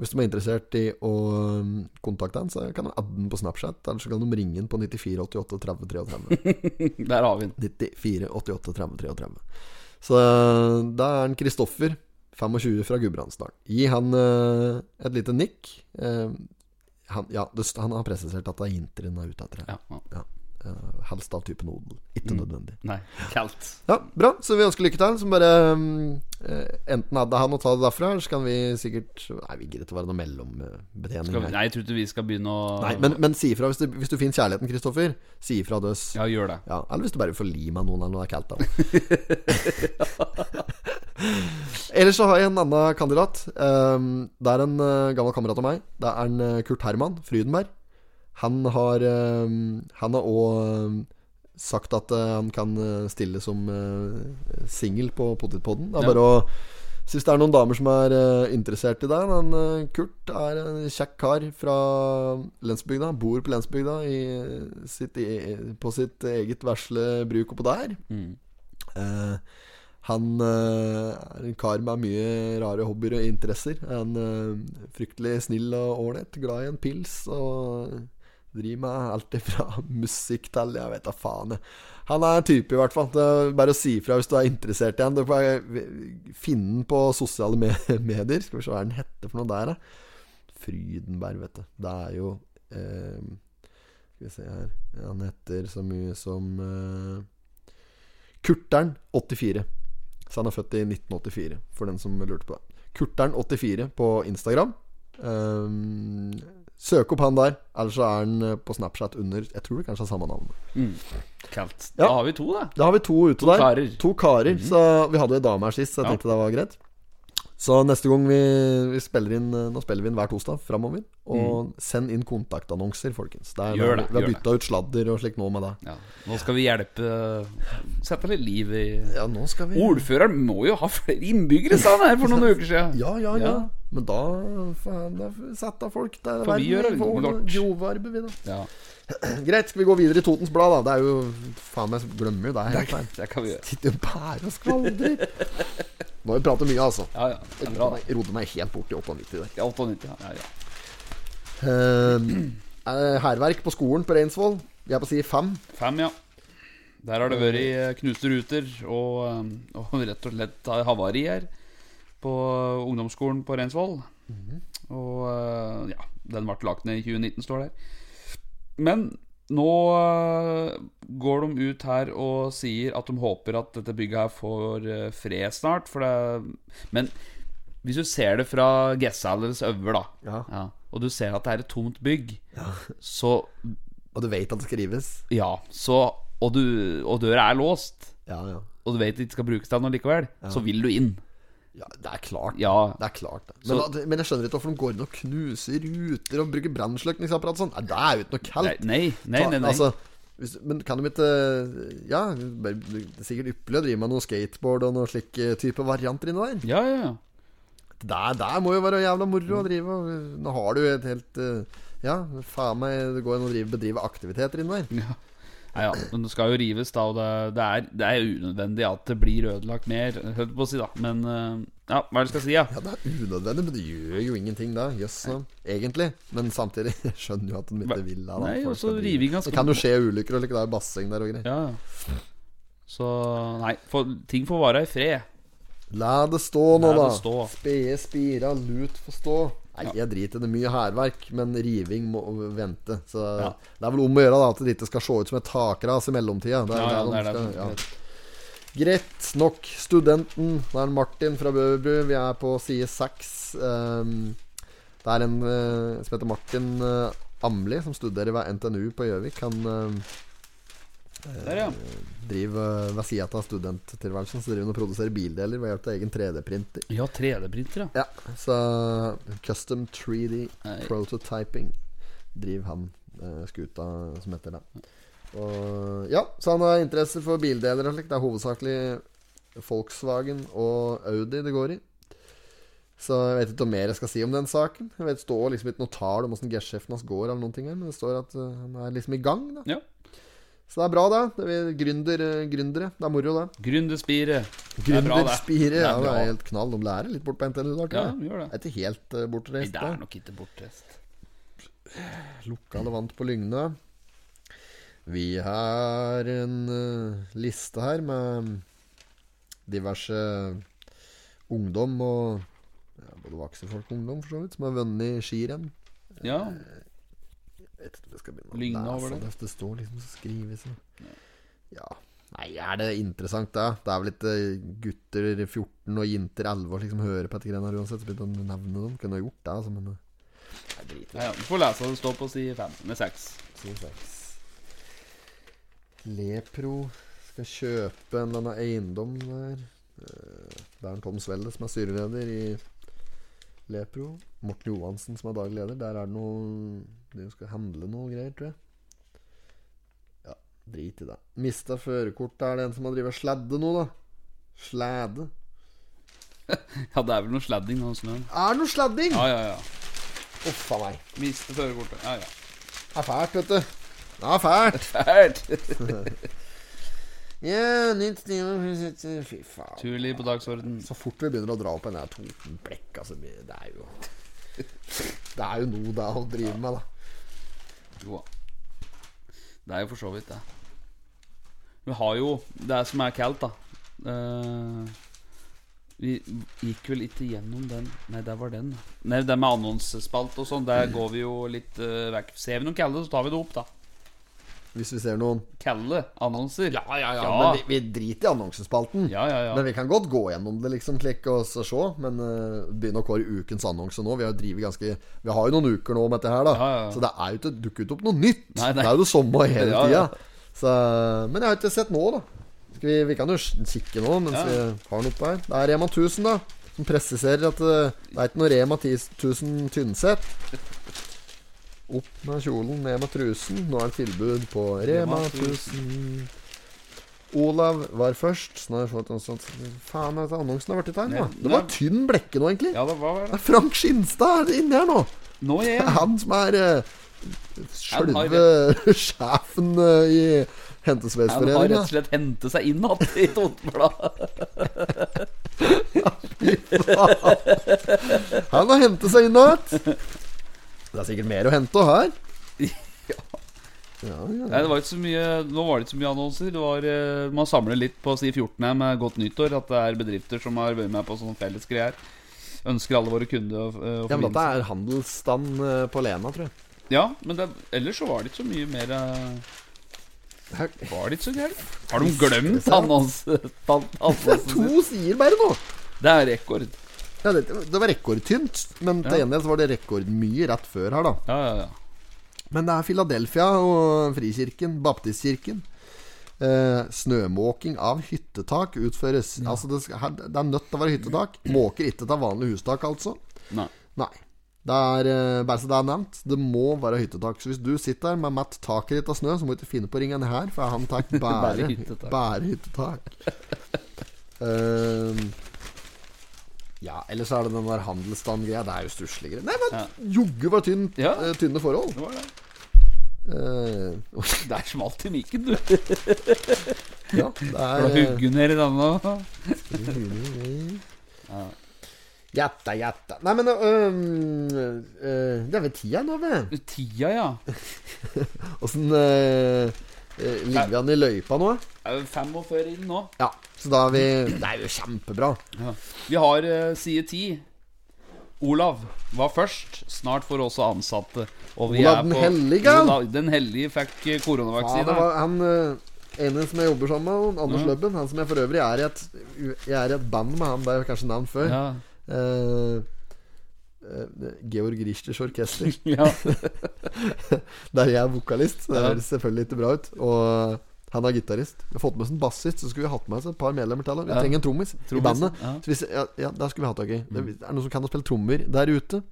Hvis de er interessert i å mm, kontakte han, så kan de adde han på Snapchat. Eller så kan de ringe han på 9488 30 33. Der har vi den. 94 88 30 33. Så eh, da er han Kristoffer, 25 fra Gudbrandsdalen. Gi han eh, et lite nikk. Eh, han, ja, det, st- han har presisert at det er jenter han er ute etter. her. Ja. ja. Mm. Eh, helst av typen odel. Ikke nødvendig. Nei, kaldt. Ja, Bra, så vi ønsker lykke til. Så bare mm, eh, enten adde han og ta det derfra, eller så kan vi sikkert Nei, vi gidder ikke å være noe Skal mellombetjening vi, her. nei, jeg tror ikke vi skal begynne å Nei, men, men si ifra hvis, du- hvis du finner kjærligheten, Kristoffer. Si ifra døs. Ja, gjør det. Ja, eller hvis du bare får li meg noen eller noe det er kaldt da Ellers så har jeg en annen kandidat Ehm, Det er en eh, gammel kamerat av meg Det er en eh, Kurt Herman, Frydenberg Han har ehm, Han har også ehm, sagt at eh, han kan eh, stille som uh, single på Potetpodden Det er Ja. bare å Synes det er noen damer som er eh, interessert i deg Men eh, Kurt er en kjekk kar fra Lensbygda Bor på Lensbygda i sitt, e- På sitt eget versle bruk oppå der Eh, Han eh, er en kar med mye rare hobbyer og interesser Han eh, fryktelig snill og ålreit, Glad i en pils Og driver med alt ifra [LAUGHS] musikk til Jeg vet da faen jeg. Han er en type i hvert fall det er Bare å si ifra hvis du er interessert i han Du får bare finne den på sosiale me- [LAUGHS] medier Skal vi se hva er den hette for noe der da Frydenberg, vet du Det er jo eh, Skal vi se her Han heter så mye som eh, Kurtern 84 Så han er født i 1984 For den som lurte på det Kurtern 84 på Instagram Ehm, Søk opp han der Ellers så er han eh, på Snapchat under Jeg tror det kanskje er samme navn Kaldt. Ja. Da har vi to, da. Da har vi to ute der. karer. Mhm. To karer Så vi hadde jo ei dame her sist, så jeg Ja. tenkte det var greit. Så neste gang vi, vi spiller inn eh, Nå spiller vi inn hver torsdag framover. Og send inn kontaktannonser, folkens. Det er, Mhm. Gjør det, vi har gjør bytta ut sladder og slikt nå med det. Ja. Nå skal vi hjelpe eh, Sette litt liv i Ja, nå skal vi Ordføreren må jo ha flere innbyggere, sa han her for noen uker siden. [LAUGHS] Ja, ja, ja. Ja. Men da faen, da setter folk der Får vi gjøre det, Lort? Jovarbe, vi, da. Ja, Greit, skal vi gå videre i Totens Blad, da? Det er jo Faen, jeg glemmer jo det helt feil. det kan vi gjøre. Sitter jo bare og skvaldrer. [LAUGHS] Nå har vi pratet mye, altså. Ja, ja. Det Jeg er bra. rodde meg- rodde meg helt bort i 98 der. Ja, 98, ja. ja, ja. Eh, Hærverk på skolen på Reinsvoll. Vi er på side fem. Fem, ja. Der har det vært eh, knuste ruter og, eh, og rett og slett havari her på ungdomsskolen på Reinsvoll. Og eh, ja, den ble lagt ned i 2019, står det her. Men nå eh, går de ut her og sier at de håper at dette bygget her får eh, fred snart, for det Men hvis du ser det fra Gessalers øver, da, Ja. og du ser at det er et tomt bygg, så Og du vet at det skrives? ja, så og, du, og døra er låst, Ja, ja. og du vet det ikke skal brukes til noe likevel, så vil du inn. ja det er klart. Ja. Det er klart det. Men, Så- at- men jeg skjønner ikke hvorfor de går inn og knuser ruter og bruker brannslukningsapparat og sånn. Nei, Det er jo ikke noe Nei, kaldt. nei, nei. Ta- nei, nei. Altså, hvis, men kan de ikke eh, Ja, bare- det er sikkert ypperlig å drive med noe skateboard og noe slik eh, type varianter inni der. ja, ja, ja. Der, der må jo være jævla moro å drive og Nå har du et helt eh, Ja, faen meg, det går an å drive, bedrive aktiviteter inni der. Ja. Nei, ja, men det skal jo rives, da, og det, det, er, det er unødvendig at det blir ødelagt mer, holdt på å si, da. Men eh, ja, hva er det jeg skal si, ja? Ja, det er unødvendig, men det gjør jo ingenting da. Jøss, nå. egentlig. Men samtidig [LAUGHS] skjønner jo at de ikke vil da. da. Nei, Folk og så skal drive. rivinga Det skal kan jo skje ulykker og like, det er basseng der og greier. Ja, ja. Så nei, for, ting får vare i fred. La det stå nå, La da. det stå. Spede spira, lut få stå. Nei, jeg driter i det. Mye hærverk, men riving må vente. Så Ja. det er vel om å gjøre da at det ikke skal se ut som et takras i mellomtida. Det er Ja, ja, der de det er det. skal- ja. Greit nok. Studenten. Det er Martin fra Bøverbru. Vi er på side seks. Ehm, det er en eh, som heter Martin eh, Amli, som studerer ved NTNU på Gjøvik. Han eh, Der, ja. driver eh, ved sida av studenttilværelsen Så driver han og produserer bildeler ved hjelp av egen 3D-printer. Ja, 3D-printer, ja. Ja, så Custom 3D Nei. Prototyping driver han eh, skuta som heter det. Og, ja, så han har interesse for bildeler og slikt. Det er hovedsakelig Volkswagen og Audi det går i. Så jeg vet ikke noe mer jeg skal si om den saken. Jeg vet, Det står liksom ikke noe tall om åssen gessjefen hans går, eller noen ting her, men det står at eh, han er liksom i gang. da Ja. Så det er bra, da. Det er vi gründer, eh, gründere. Det er moro, det. Gründerspiret. Det er bra, det. Gründerspire. Det er Ja, det bra. er helt knall. De lærer litt bort på NTNU. da, tror Ja, jeg. vi gjør Det det. er ikke helt uh, Nei, bortreist. det er da. nok ikke bortreist. Lokale vant på Lygne. Vi har en eh, liste her med diverse ungdom og ja, både voksne folk og ungdom, for så vidt, som har vunnet skirenn. Ja. Jeg vet ikke om jeg skal begynne å Lygne lese over det. Det står liksom så skrives og- Ja. Nei, er det interessant, da? Det er vel ikke gutter 14 og jenter 11 år liksom hører på dette greiene her uansett. Så begynte han å nevne dem. Kunne ha gjort det, altså, men Jeg driter i Nei, ja. Du får lese det står på side 5 med 6. Side seks. Lepro skal kjøpe en eller annen eiendom der. Eh, Det er en Tom Svelle som er styreleder i Lepro. Morten Johansen som er daglig leder. Der er det noe De skal handle noe greier, tror jeg. Ja, drit i det. Mista førerkortet. Er det en som har drevet og sladde nå, da? Slæde? Ja, det er vel noe sladding nå sånn hos noen. Er det noe sladding? Ja, ja, ja. Uff a meg. Miste førerkortet. Ja, ja. Det er fælt, vet du. [LAUGHS] Det er fælt. [LAUGHS] Fælt! Ja, nytt stil sånn. Fy faen. Turlig på dagsorden. Så fort vi begynner å dra opp en der Totenblekk altså, vi- Det er jo [LAUGHS] Det er jo noe da å drive med, da. Jo da. Det er jo for så vidt det. Vi har jo det som er kaldt, da. Eh, vi gikk vel ikke gjennom den Nei, der var den. da. Nei, den med annonsespalt og sånn. Der går vi jo litt eh, vekk. Ser vi noen kalde, så tar vi det opp, da. Hvis vi ser noen Kalde annonser. Ja, ja, Men vi, vi driter i annonsespalten. Ja, ja, ja. Men vi kan godt gå gjennom det, liksom, slik og så se. Men eh, begynne å kåre ukens annonse nå. Vi har jo drivet ganske Vi har jo noen uker nå om dette her, da. Ja, ja, ja. Så det er jo ikke dukker ikke opp noe nytt. Nei, nei. Det er jo det samme hele Ja, tida. ja. Så, men jeg har ikke sett nå, da. Skal vi, vi kan jo s- kikke nå mens Ja. vi har den oppe her. Det er Rema 1000, da. Som presiserer at eh, det er ikke noe Rema 10 1000 Tynset. Opp med kjolen, ned med trusen. Nå er det tilbud på Rema Rema 1000. Olav var først. Så nå har jeg fått noe sånt Faen, dette annonsen har vært i tegn, da. Nei, Det var nei. tynn blekke nå, egentlig. Ja, det var Det er Frank Skinstad er inne her nå. Nå er Det er jeg han som er uh, Han har sjølve [LAUGHS] sjefen eh, i Han har rett Hentesveisforeninga. og slett hentet seg inn igjen i Totenbladet. Han har hentet seg inn igjen. Det er sikkert mer å hente [LAUGHS] også her. Ja, ja. Nei, det var ikke så mye Nå var det ikke så mye annonser. Det var, eh, man samler litt på si 14 her med Godt nyttår. At det er bedrifter som har vært med på sånne fellesgreier. Ønsker alle våre kunder å, eh, å ja, men dette forbinde seg. er handelsstand eh, på Lena, tror jeg. Ja, men det, ellers så var det ikke så mye mer eh, Her- Var det ikke så gærent? Har de glemt annonsespalten? [LAUGHS] Det er Annonsen sin? to sider bare nå. Det er rekord. Ja, det, det var rekordtynt, men til Ja. gjengjeld så var det rekordmye rett før her, da. Ja, ja, ja. Men det er Philadelphia og Frikirken, Baptistkirken. Eh, snømåking av hyttetak utføres. Altså det, skal, her, det er nødt til å være hyttetak. Måker ikke av vanlig hustak, altså. Nei. Nei. Det er, eh, bare så det er nevnt, det må være hyttetak. Så hvis du sitter her med matt taket ditt av snø, så må du ikke finne på å ringe en her, for [LAUGHS] han tar bare, Bare hyttetak. bare hyttetak. Eh, ja, ellers er det den der handelsstand-greia. Det er jo stusslige greier. Nei, men jogge var tynn, Ja. eh, tynne forhold. Det var det. Eh, Der smalt det i mikken, du. ja, For det å er eh, hugge ned i denne. Jatta, jatta. Nei, men øhm, øh, Det er vel tida nå, vel? Tida, ja. Åssen øh, øh, ligger vi an i løypa nå? Er jo 45 inn nå. Ja, så da er vi Det er jo kjempebra. Vi har eh, side 10. Olav var først. Snart får også ansatte. Og Olav den hellige? Olav den hellige fikk eh, Ja, det koronavaksine. var han øh, ene som jeg jobber sammen med, Anders Løbben. Han som jeg for øvrig er i et, jeg er i et band med, han det er jo kanskje navn før. Ja, Eh, eh, Georg Richters orkester. ja. Der jeg er vokalist. Det Ja. høres selvfølgelig ikke bra ut. Og han er gitarist. Vi har fått med oss en bassist, så skulle vi hatt med oss et par medlemmer til. da. Vi Ja. trenger en trommis i Trommis, bandet. ja. Mm. Så hvis, ja, ja, der skulle vi hatt tak i. Det er det noen som kan å spille trommer der ute.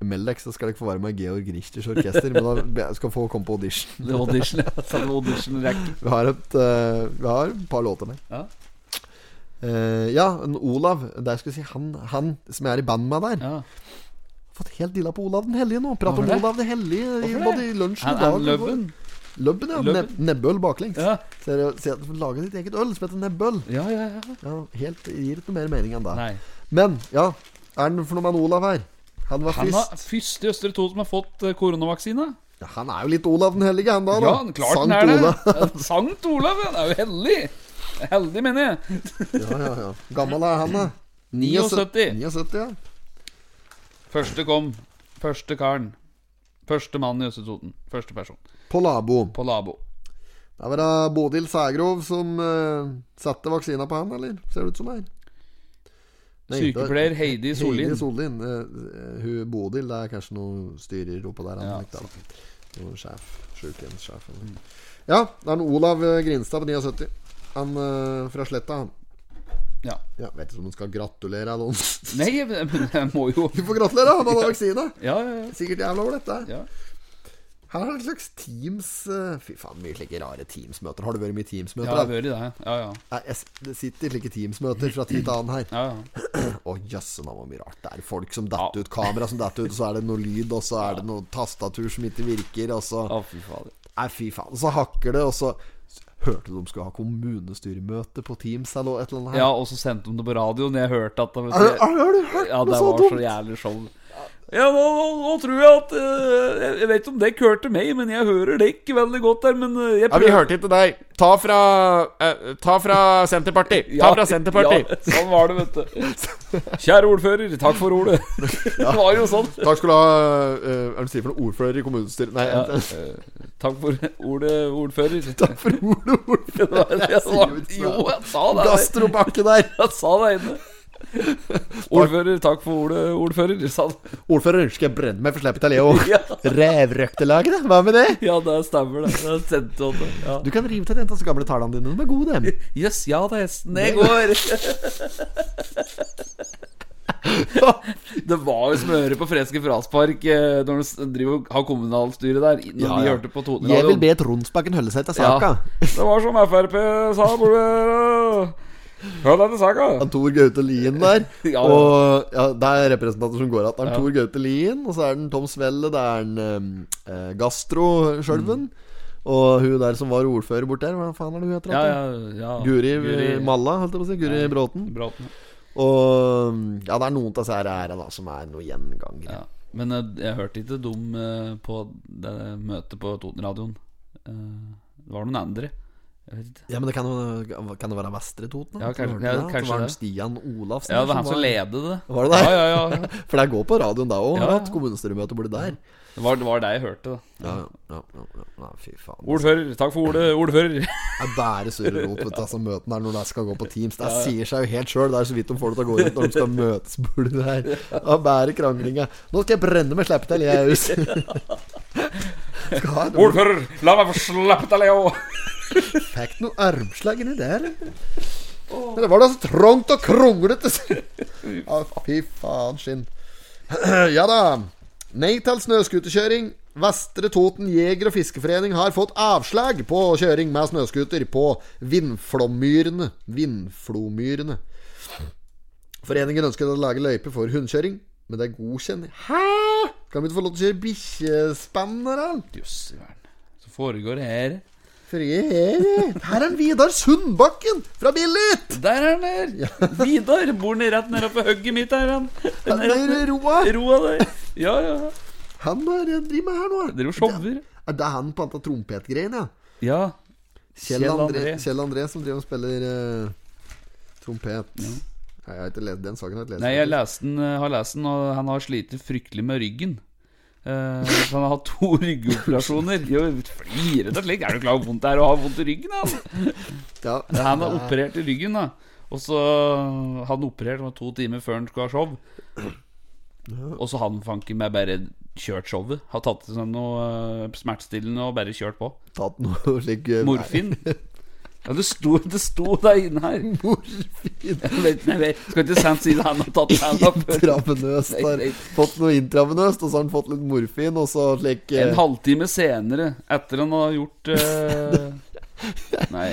Meld deg, så skal dere få være med i Georg Richters orkester. men da be- skal få komme på audition. Det var audition. ja. Så det var audition-rekke. Vi har et eh, Vi har et par låter der. Ja. Eh, ja, en Olav. Der skulle jeg si han, han som jeg er i band med der. Ja. Fått helt dilla på Olav den hellige nå. Prat om Hvorfor det? Olav den hellige i Hvorfor både det? i lunsjen Han i dag. er og i går. løbben. Løbben, ja. Løbben. Neb nebbøl baklengs. Ja. Så er det å si at du får lage ditt eget øl som heter nebbøl. ja, ja, ja. Ja, helt, det gir ikke noe mer mening enn det. Nei. Men ja, er det for noe med han Olav her? Han var Han først. er først i Østre Toten som har fått eh, koronavaksine. Ja, han er jo litt Olav den hellige, han da. Ja, da. klart Sankt den er det. Olav. Ja, Sankt Olav, han er jo heldig. Heldig, mener jeg. ja, ja, ja. Gammel er han, da. [LAUGHS] 79. 79, ja. Første kom. Første karen. Første mann i Østre Toten. Første person. På Labo. På Labo. Det var da Bodil Sægrov som eh, satte vaksina på han, eller? Ser det ut som her. Nei, det var- Sykepleier Heidi Sollien. Heidi Sollien. eh, hun Bodil, det er kanskje noe styrer oppå der. Han, Ja, ikke sant. Noe sjef. Sjukehjemssjef. eller noe. Ja, det er en Olav eh, Grinstad på 79. Han eh, fra Sletta, han. Ja. Ja, vet ikke om han skal gratulere eller [LAUGHS] noe. Nei, jeg- men jeg må jo Vi får gratulere, han hadde vaksine. Ja, ja, ja. Sikkert jævla ålreit, det. ja. Her er det et slags Teams eh, Fy faen, mye slike rare Teams-møter. Har det vært mye Ja, jeg har Teams-møter? da? vært i det. Ja, ja. Nei, jeg s- det sitter slike Teams-møter fra tid til annen her. ja, ja. Å, jøsse navn, hvor mye rart det er. Folk som detter ut, kamera som detter ut, og så er det noe lyd, og så er det noe tastatur som ikke virker, og så Å, fy fader. Nei, fy faen. Så hakker det, og så Hørte du de skulle ha kommunestyremøte på Teams eller et eller annet? her? Ja, og så sendte de det på radioen. Jeg hørte at det, vet Har, du- har, har du hørt Ja, noe det så var så dumt? jævlig show. Ja, nå, nå, nå tror jeg at eh, Jeg jeg vet ikke om dere hørte meg, men jeg hører dere ikke veldig godt her, men eh, jeg Ja, vi hørte ikke deg. Ta fra eh, Ta fra Senterpartiet. Ta fra Senterpartiet. Ja, sånn var det, vet du. Kjære ordfører, takk for ordet. Det var jo sånn. Takk skal du ha, eh, hva er det du sier for noe ordfører i kommunestyret Nei, Ja, eh, takk for ordet, ordfører. takk [LAUGHS] for ordet, [LAUGHS] Det ordfører. var- det var- Jo, jeg sa det. Gastrobakke der. Jeg sa det inne. Ordfører, takk for ordet, ordfører. Sa han. Ordfører, skal jeg brenne meg for slippet av Leo? Ja. Revrøktelaget, da? hva med det? Ja, det stemmer, det. Jeg sendte han det. Ja. Du kan rive til den så gamle tallene dine, de er gode, dem. Jøss, ja da, hesten. Det går. [LAUGHS] Det var jo smøre på Freske fraspark eh, når du driver, og har kommunalstyret der. i- Når Ja, vi ja. hørte på Jeg vil Totenradioen. be et Ronsbakken holde seg til saka. Ja. Det var som Frp sa borte Hør denne saka. Han Tor Gaute [LAUGHS] Lien der. Ja. Og ja, Det er representanter som går igjen. Det er en Tor Gaute Lien, og så er det en Tom Svelle, det er en eh, Gastro Skjølven. Mm. Og hun der som var ordfører borti der, hva faen er det hun heter? Ja, da? ja, ja. Guri, Malla, holdt jeg på å si. Guri Bråten. Bråten. Og ja, det er noen av disse her æra da som er noe gjengangere. Ja. Men eh, jeg hørte ikke dum eh, på det møtet på Totenradioen. Eh, Det var noen andre. Jeg vet ikke. Ja, men det kan, jo- kan det være Vestre Toten? da? Ja, kanskje- Hørte du ja, det? At kanskje det var en det. Stian Olafsen. Ja, der det var han som var- ledet det. Var det det? Ja, ja, ja. For det går på radioen da òg, Ja, ja. at kommunestyremøtet blir der. Det var det, var det jeg hørte, da. Ja, ja, ja, ja, ja, ja fy faen. Ordfører, takk for ordet, ordfører. Det er bare surr og rot vet du, altså, møtene her når de skal gå på Teams. Det sier seg jo helt sjøl. Det er så vidt de får det til å gå rundt når de skal møtes. Burde det her Det er bare kranglinga. Nå skal jeg brenne meg slippe til, jeg [LAUGHS] hus. Skal ha et Ordfører, la meg få slappe av, Leo. Fikk noe armslag inni der. Men det var da så trangt og kronglete. Ja, fy faen skinn. [CLEARS THROAT] Ja da. Nei til snøscooterkjøring. Vestre Toten jeger- og fiskeforening har fått avslag på kjøring med snøscooter på Vindflomyrene. Vindflomyrene. Foreningen ønsker å lage løype for hundekjøring, men det er godkjenning Hæ?! Kan vi ikke få lov til å kjøre bikkjespann her, da? Jøss i verden. Så foregår her? Frieri. Her er Vidar Sundbakken fra Billit! Der er han der! Vidar bor ned rett nede på hugget mitt her, han. Han Nede er i roa. Roa der. Ja, ja. Han er, driver med her nå. Driver og shower. Er det han på antall trompetgreiene, ja? Ja. Kjell, André. Kjell André som driver og spiller eh, trompet. Nei, jeg har ikke lest den saken. Har jeg ikke lest Nei, jeg leste den, eh, har lest den, og han har slitt fryktelig med ryggen. Eh, så han har hatt to [LAUGHS] ryggoperasjoner. Jo, Flirer og slik. Er du klar over hvor vondt det er å ha vondt i ryggen? Han, Ja. han har operert i ryggen, da. Og så hadde han operert med to timer før han skulle ha show. Og så hadde han fanken meg bare kjørt showet. Har tatt til seg noe eh, smertestillende og bare kjørt på. Tatt noe [LAUGHS] slik eh, Morfin. Ja, det sto, det sto der inne her. nei, Morfin. Jeg vet, jeg vet. Skal ikke sant si det han har tatt seg av før. Intravenøst. Nei, Har nei. fått noe intravenøst, og så har han fått litt morfin, og så slik eh, En halvtime senere, etter han har gjort [LAUGHS] eh, Nei,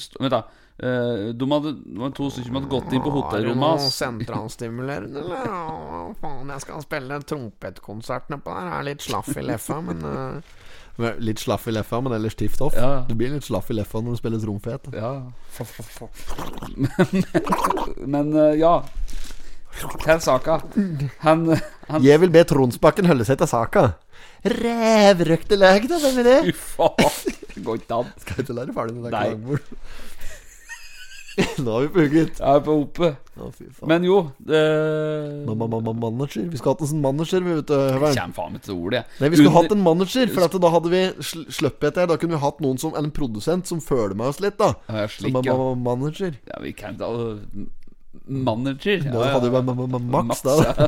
st- vent, da. Eh, de hadde, det var to stykker som hadde gått inn på hotellrommet Noe hans. sentralstimulerende, eller? Å, faen, jeg skal spille trompetkonsertene på der. Jeg er litt slaff i leffa, men [LAUGHS] eh, med Litt slaff i leffa, men ellers tiff toff. Ja. Du blir litt slaff i leffa når du spiller tromfet. Ja. [LAUGHS] Men eh, ja. Til saka. Han, eh, [LAUGHS] han Jeg vil be Tronsbakken holde seg til saka. Revrøkte løk, da, hvem er det? Fy faen. Det går ikke an. Skal ikke lære ferdig med det Nei. klangbordet. [LAUGHS] Nå er vi på hugget. Jeg er på oppe. Å, fy faen. Men jo det, Ma- ma- ma- ma- Manager. Vi skulle hatt en sånn manager, vi, vet du. Jeg Høveren. kommer faen meg til ordet, jeg. Nei, vi skulle Under- hatt en manager, for at da hadde vi sl sluppet det. Da kunne vi hatt noen som, eller en produsent som føler med oss litt, da. Ja, jeg Som slik, ma- ja. ma- ma- manager. ja, vi kan da Manager. Da Ja, ja. hadde vi ma- ma- ma- Max, da. Max, ja.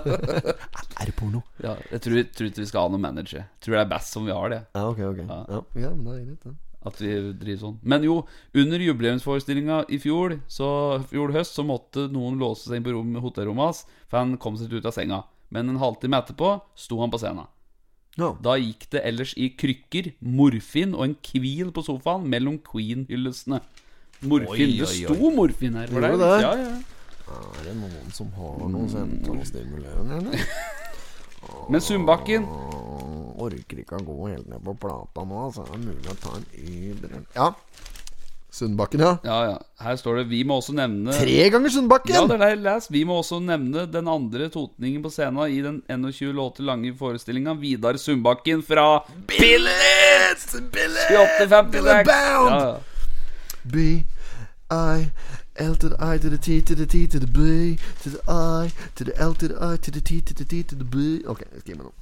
[LAUGHS] [LAUGHS] Er det porno? Ja, jeg tror, tror ikke vi skal ha noen manager. Jeg tror det er best som vi har det. Ja, ok, ok. Ja, ja men det er greit, det. At vi driver sånn Men jo, under jubileumsforestillinga i fjor Så fjor høst så måtte noen låse seg inn på rom, hotellrommet hans, for han kom seg ikke ut av senga. Men en halvtime etterpå sto han på scenen. Ja. Da gikk det ellers i krykker, morfin og en hvil på sofaen mellom Queen-hyllestene. Morfin. Det sto morfin her. for Gjorde deg. det? Ja, ja. Er det noen som har noe Mm. sentralstimulerende, eller? Men Sundbakken Orker ikke å gå helt ned på plata nå, altså. Det er mulig å ta en Uber Ja. Sundbakken, ja. Ja, ja. Her står det 'Vi må også nevne' Tre ganger Sundbakken! Ja, det er det jeg leser. Vi må også nevne den andre totningen på scenen i den 21 låter lange forestillinga. Vidar Sundbakken fra Billets! Billets! 8856. Bound! Ja, ja. B I L to the I to the T to the T to the B to the I to the L to the I to the T to the T to the B Ok, jeg skriver nå.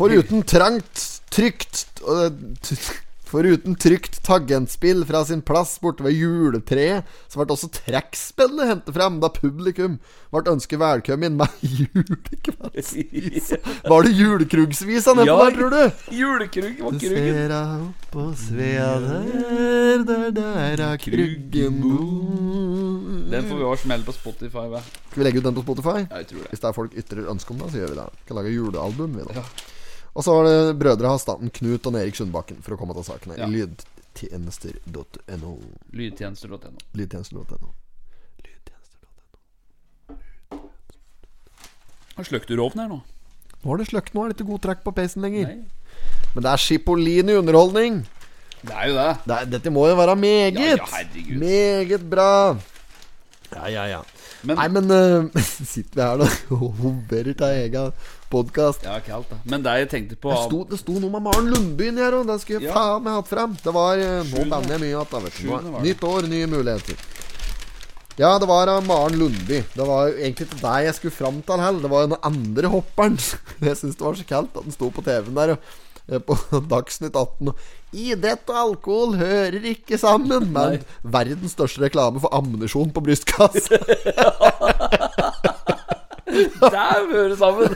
Foruten trangt, trygt øh, t- [LAUGHS] Foruten trygt tangentspill fra sin plass borte ved juletreet, så ble også trekkspillet hentet frem da publikum ble ønsket velkommen [LAUGHS] med julekveldsvisa. Var det julekrugsvisa nedpå Ja. der, tror du? Julekrug var Du krugen. ser deg opp på svea der, der, der er kruggen bor. Den får vi også smell på Spotify. Hva? Skal vi legge ut den på Spotify? Ja, jeg tror det. Hvis det er folk ytrer ønske om det, så gjør vi det. Vi kan lage julealbum, vi, da. Og så var det brødre av staten Knut og Erik Sundbakken, for å komme til sakene. Ja. I lydtjenester.no. Lydtjenester.no. Lydtjenester.no. Har sløkt du rovn her nå? Nå har det sløkt, nå er det ikke god trekk på peisen lenger. Nei. Men det er Chipolini underholdning. Det er jo det. Det er, dette må jo være meget. Ja, ja, herregud. meget bra. Ja, ja, ja. Men- Nei, men eh, [LAUGHS] sitter vi her da og hoverer til egen podkast? Ja, ikke alt, da. Men det jeg tenkte på Det sto, det sto noe med Maren Lundbyen her òg. Den skulle jeg Ja. faen meg hatt frem. Det var eh, Nå Sjuende. banner jeg mye igjen, da. vet du. Nå er- Sjuende var det. Nytt år, nye muligheter. Ja, det var av Maren Lundby. Det var jo egentlig ikke deg jeg skulle fram til heller. Det var jo den andre hopperen. [LAUGHS] Jeg syns det var så kaldt at den sto på TV-en der. og- eh, På [LAUGHS] Dagsnytt 18 og Idrett og alkohol hører ikke sammen. Men verdens største reklame for ammunisjon på brystkassa. Der hører sammen!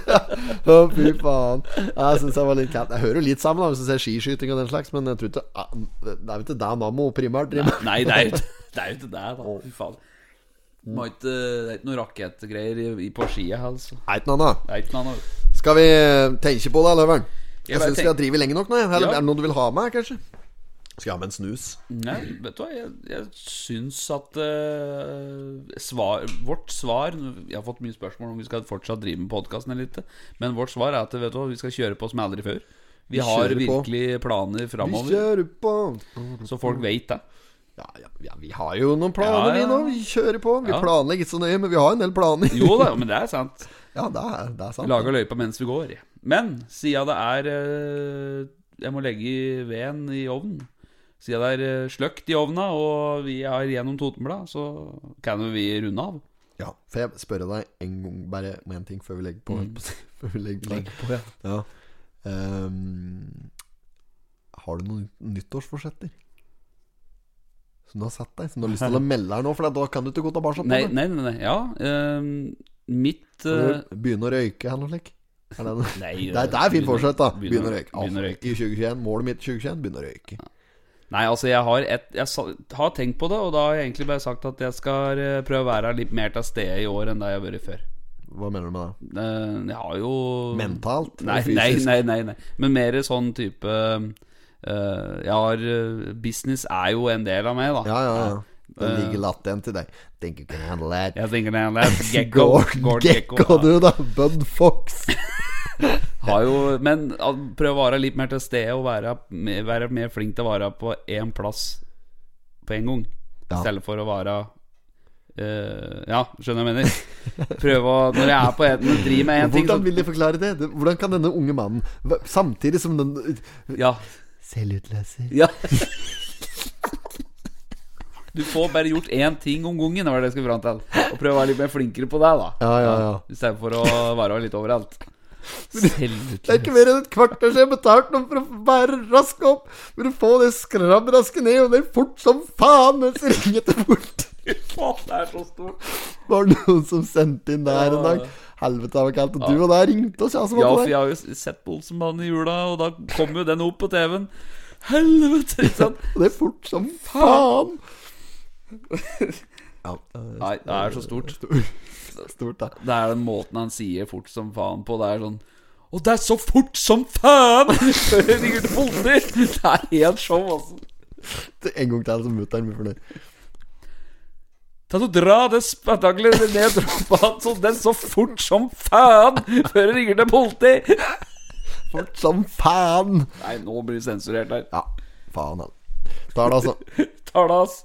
Å, fy faen. Ja, Jeg synes jeg var litt kalt. Jeg hører jo litt sammen da hvis du ser skiskyting og den slags, men jeg tror ikke ah, Det er jo ikke det Nammo primært driver med. Nei, det er jo [LAUGHS] ikke det, er jo ikke det da. Fy faen. Det er ikke det er ikke noen rakettgreier i- i- på skia her, altså. Nei, ikke noe annet. Det er ikke noe annet. Skal vi eh, tenke på det, Løveren? Jeg Jeg bare syns vi tenk- har drevet lenge nok nå. jeg. Eller Ja. er det noe du vil ha med, kanskje? Skal jeg ha med en snus? Nei, vet du hva, jeg, jeg syns at eh, svar, Vårt svar Jeg har fått mye spørsmål om vi skal fortsatt drive med podkasten eller ikke, men vårt svar er at vet du hva, vi skal kjøre på som aldri før. Vi har kjører på. virkelig planer Vi framover, kjører på. så folk veit det. Ja, ja, ja, vi har jo noen Ja, planer, ja, vi nå. ja. Vi kjører på. Vi Ja. planlegger ikke så nøye, men vi har en del planer. Jo da, men det er sant. Ja, det er, det er sant. Vi lager løypa mens vi går. Men siden det er eh, Jeg må legge veden i ovnen. Siden det er eh, sløkt i ovna, og vi er gjennom Totenblad, så kan jo vi runde av. Ja, for jeg spørre deg en gang bare om en ting før vi legger på. Mm. [LAUGHS] før vi legger på. Ja. Ehm, har du noen nyttårsforsetter? Som du har satt deg? Som du [LAUGHS] har lyst til å melde her nå? For da kan du ikke gå tilbake på Nei, det. nei, nei. nei. Ja. ehm, mitt eh, Kan du Begynne å røyke eller noe slikt? Er det det? [LAUGHS] Nei, Det er, det er fint begynne- forsett, da. begynne- Begynne å røyke. begynne å Altså, røyke. I 2021, Målet mitt i 2021 begynne å røyke. Nei, altså jeg har, et, jeg sa- har tenkt på det, og da har jeg egentlig bare sagt at jeg skal eh, prøve å være litt mer til stede i år enn det jeg har vært før. Hva mener du med det? Eh, Jeg har jo Mentalt? Nei, eller nei, fysisk? nei, nei, nei. Men mer sånn type eh, Jeg har eh, Business er jo en del av meg, da. Ja, ja, ja. Det Øh. ligger latent i deg. Think you can handle that. Jeg tenker det er [LAUGHS] Gekko. Gordon Gordon Gekko, Gekko, ja. du, da. Bud Fox. Har jo, men al- prøv å være litt mer til stede og være, mer- være mer flink til å være på én plass på en gang. Ja. I stedet for å være eh, Ja, skjønner jeg mener. Prøve å Når jeg er på en Når jeg driver med én ting, Hvordan så vil de forklare det? Det- Hvordan kan denne unge mannen, v- samtidig som den Ja. Selvutleser. ja. [LAUGHS] Du får bare gjort én ting om gangen, var det jeg skulle fram til. Og prøve å være litt mer flinkere på deg, da. Ja, ja, ja. I stedet for å være litt overalt. Selvutlært. Det er ikke mer enn et kvarter siden jeg betalte noen for å bære raskt opp. Men du får det skrabraske ned, og det er fort som faen mens jeg ringer til bort. Det er så stort. Var det noen som sendte inn der en dag? Helvete, det var kaldt. Og du og der ringte oss, ja. Som Ja, var for på jeg det. har jo sett på Olsenmannen i jula, og da kom jo den opp på TV-en. Helvete! Ikke sant? Og det er fort som faen. Ja, det Nei, det er så stort. er stort, da. Det er den måten han sier 'fort som faen' på. Det er sånn Og det er så fort som faen! [LAUGHS] Før jeg ringer til politiet! Det er helt show, altså. En gang til, så mutter'n blir fornøyd. Ta så Dra det spetakkelet ned trappa hans, og den så fort som faen! Før jeg ringer til politiet! Fort som faen. Nei, nå blir det sensurert her. Ja, faen, han. Tar det, altså. Tar det, ass.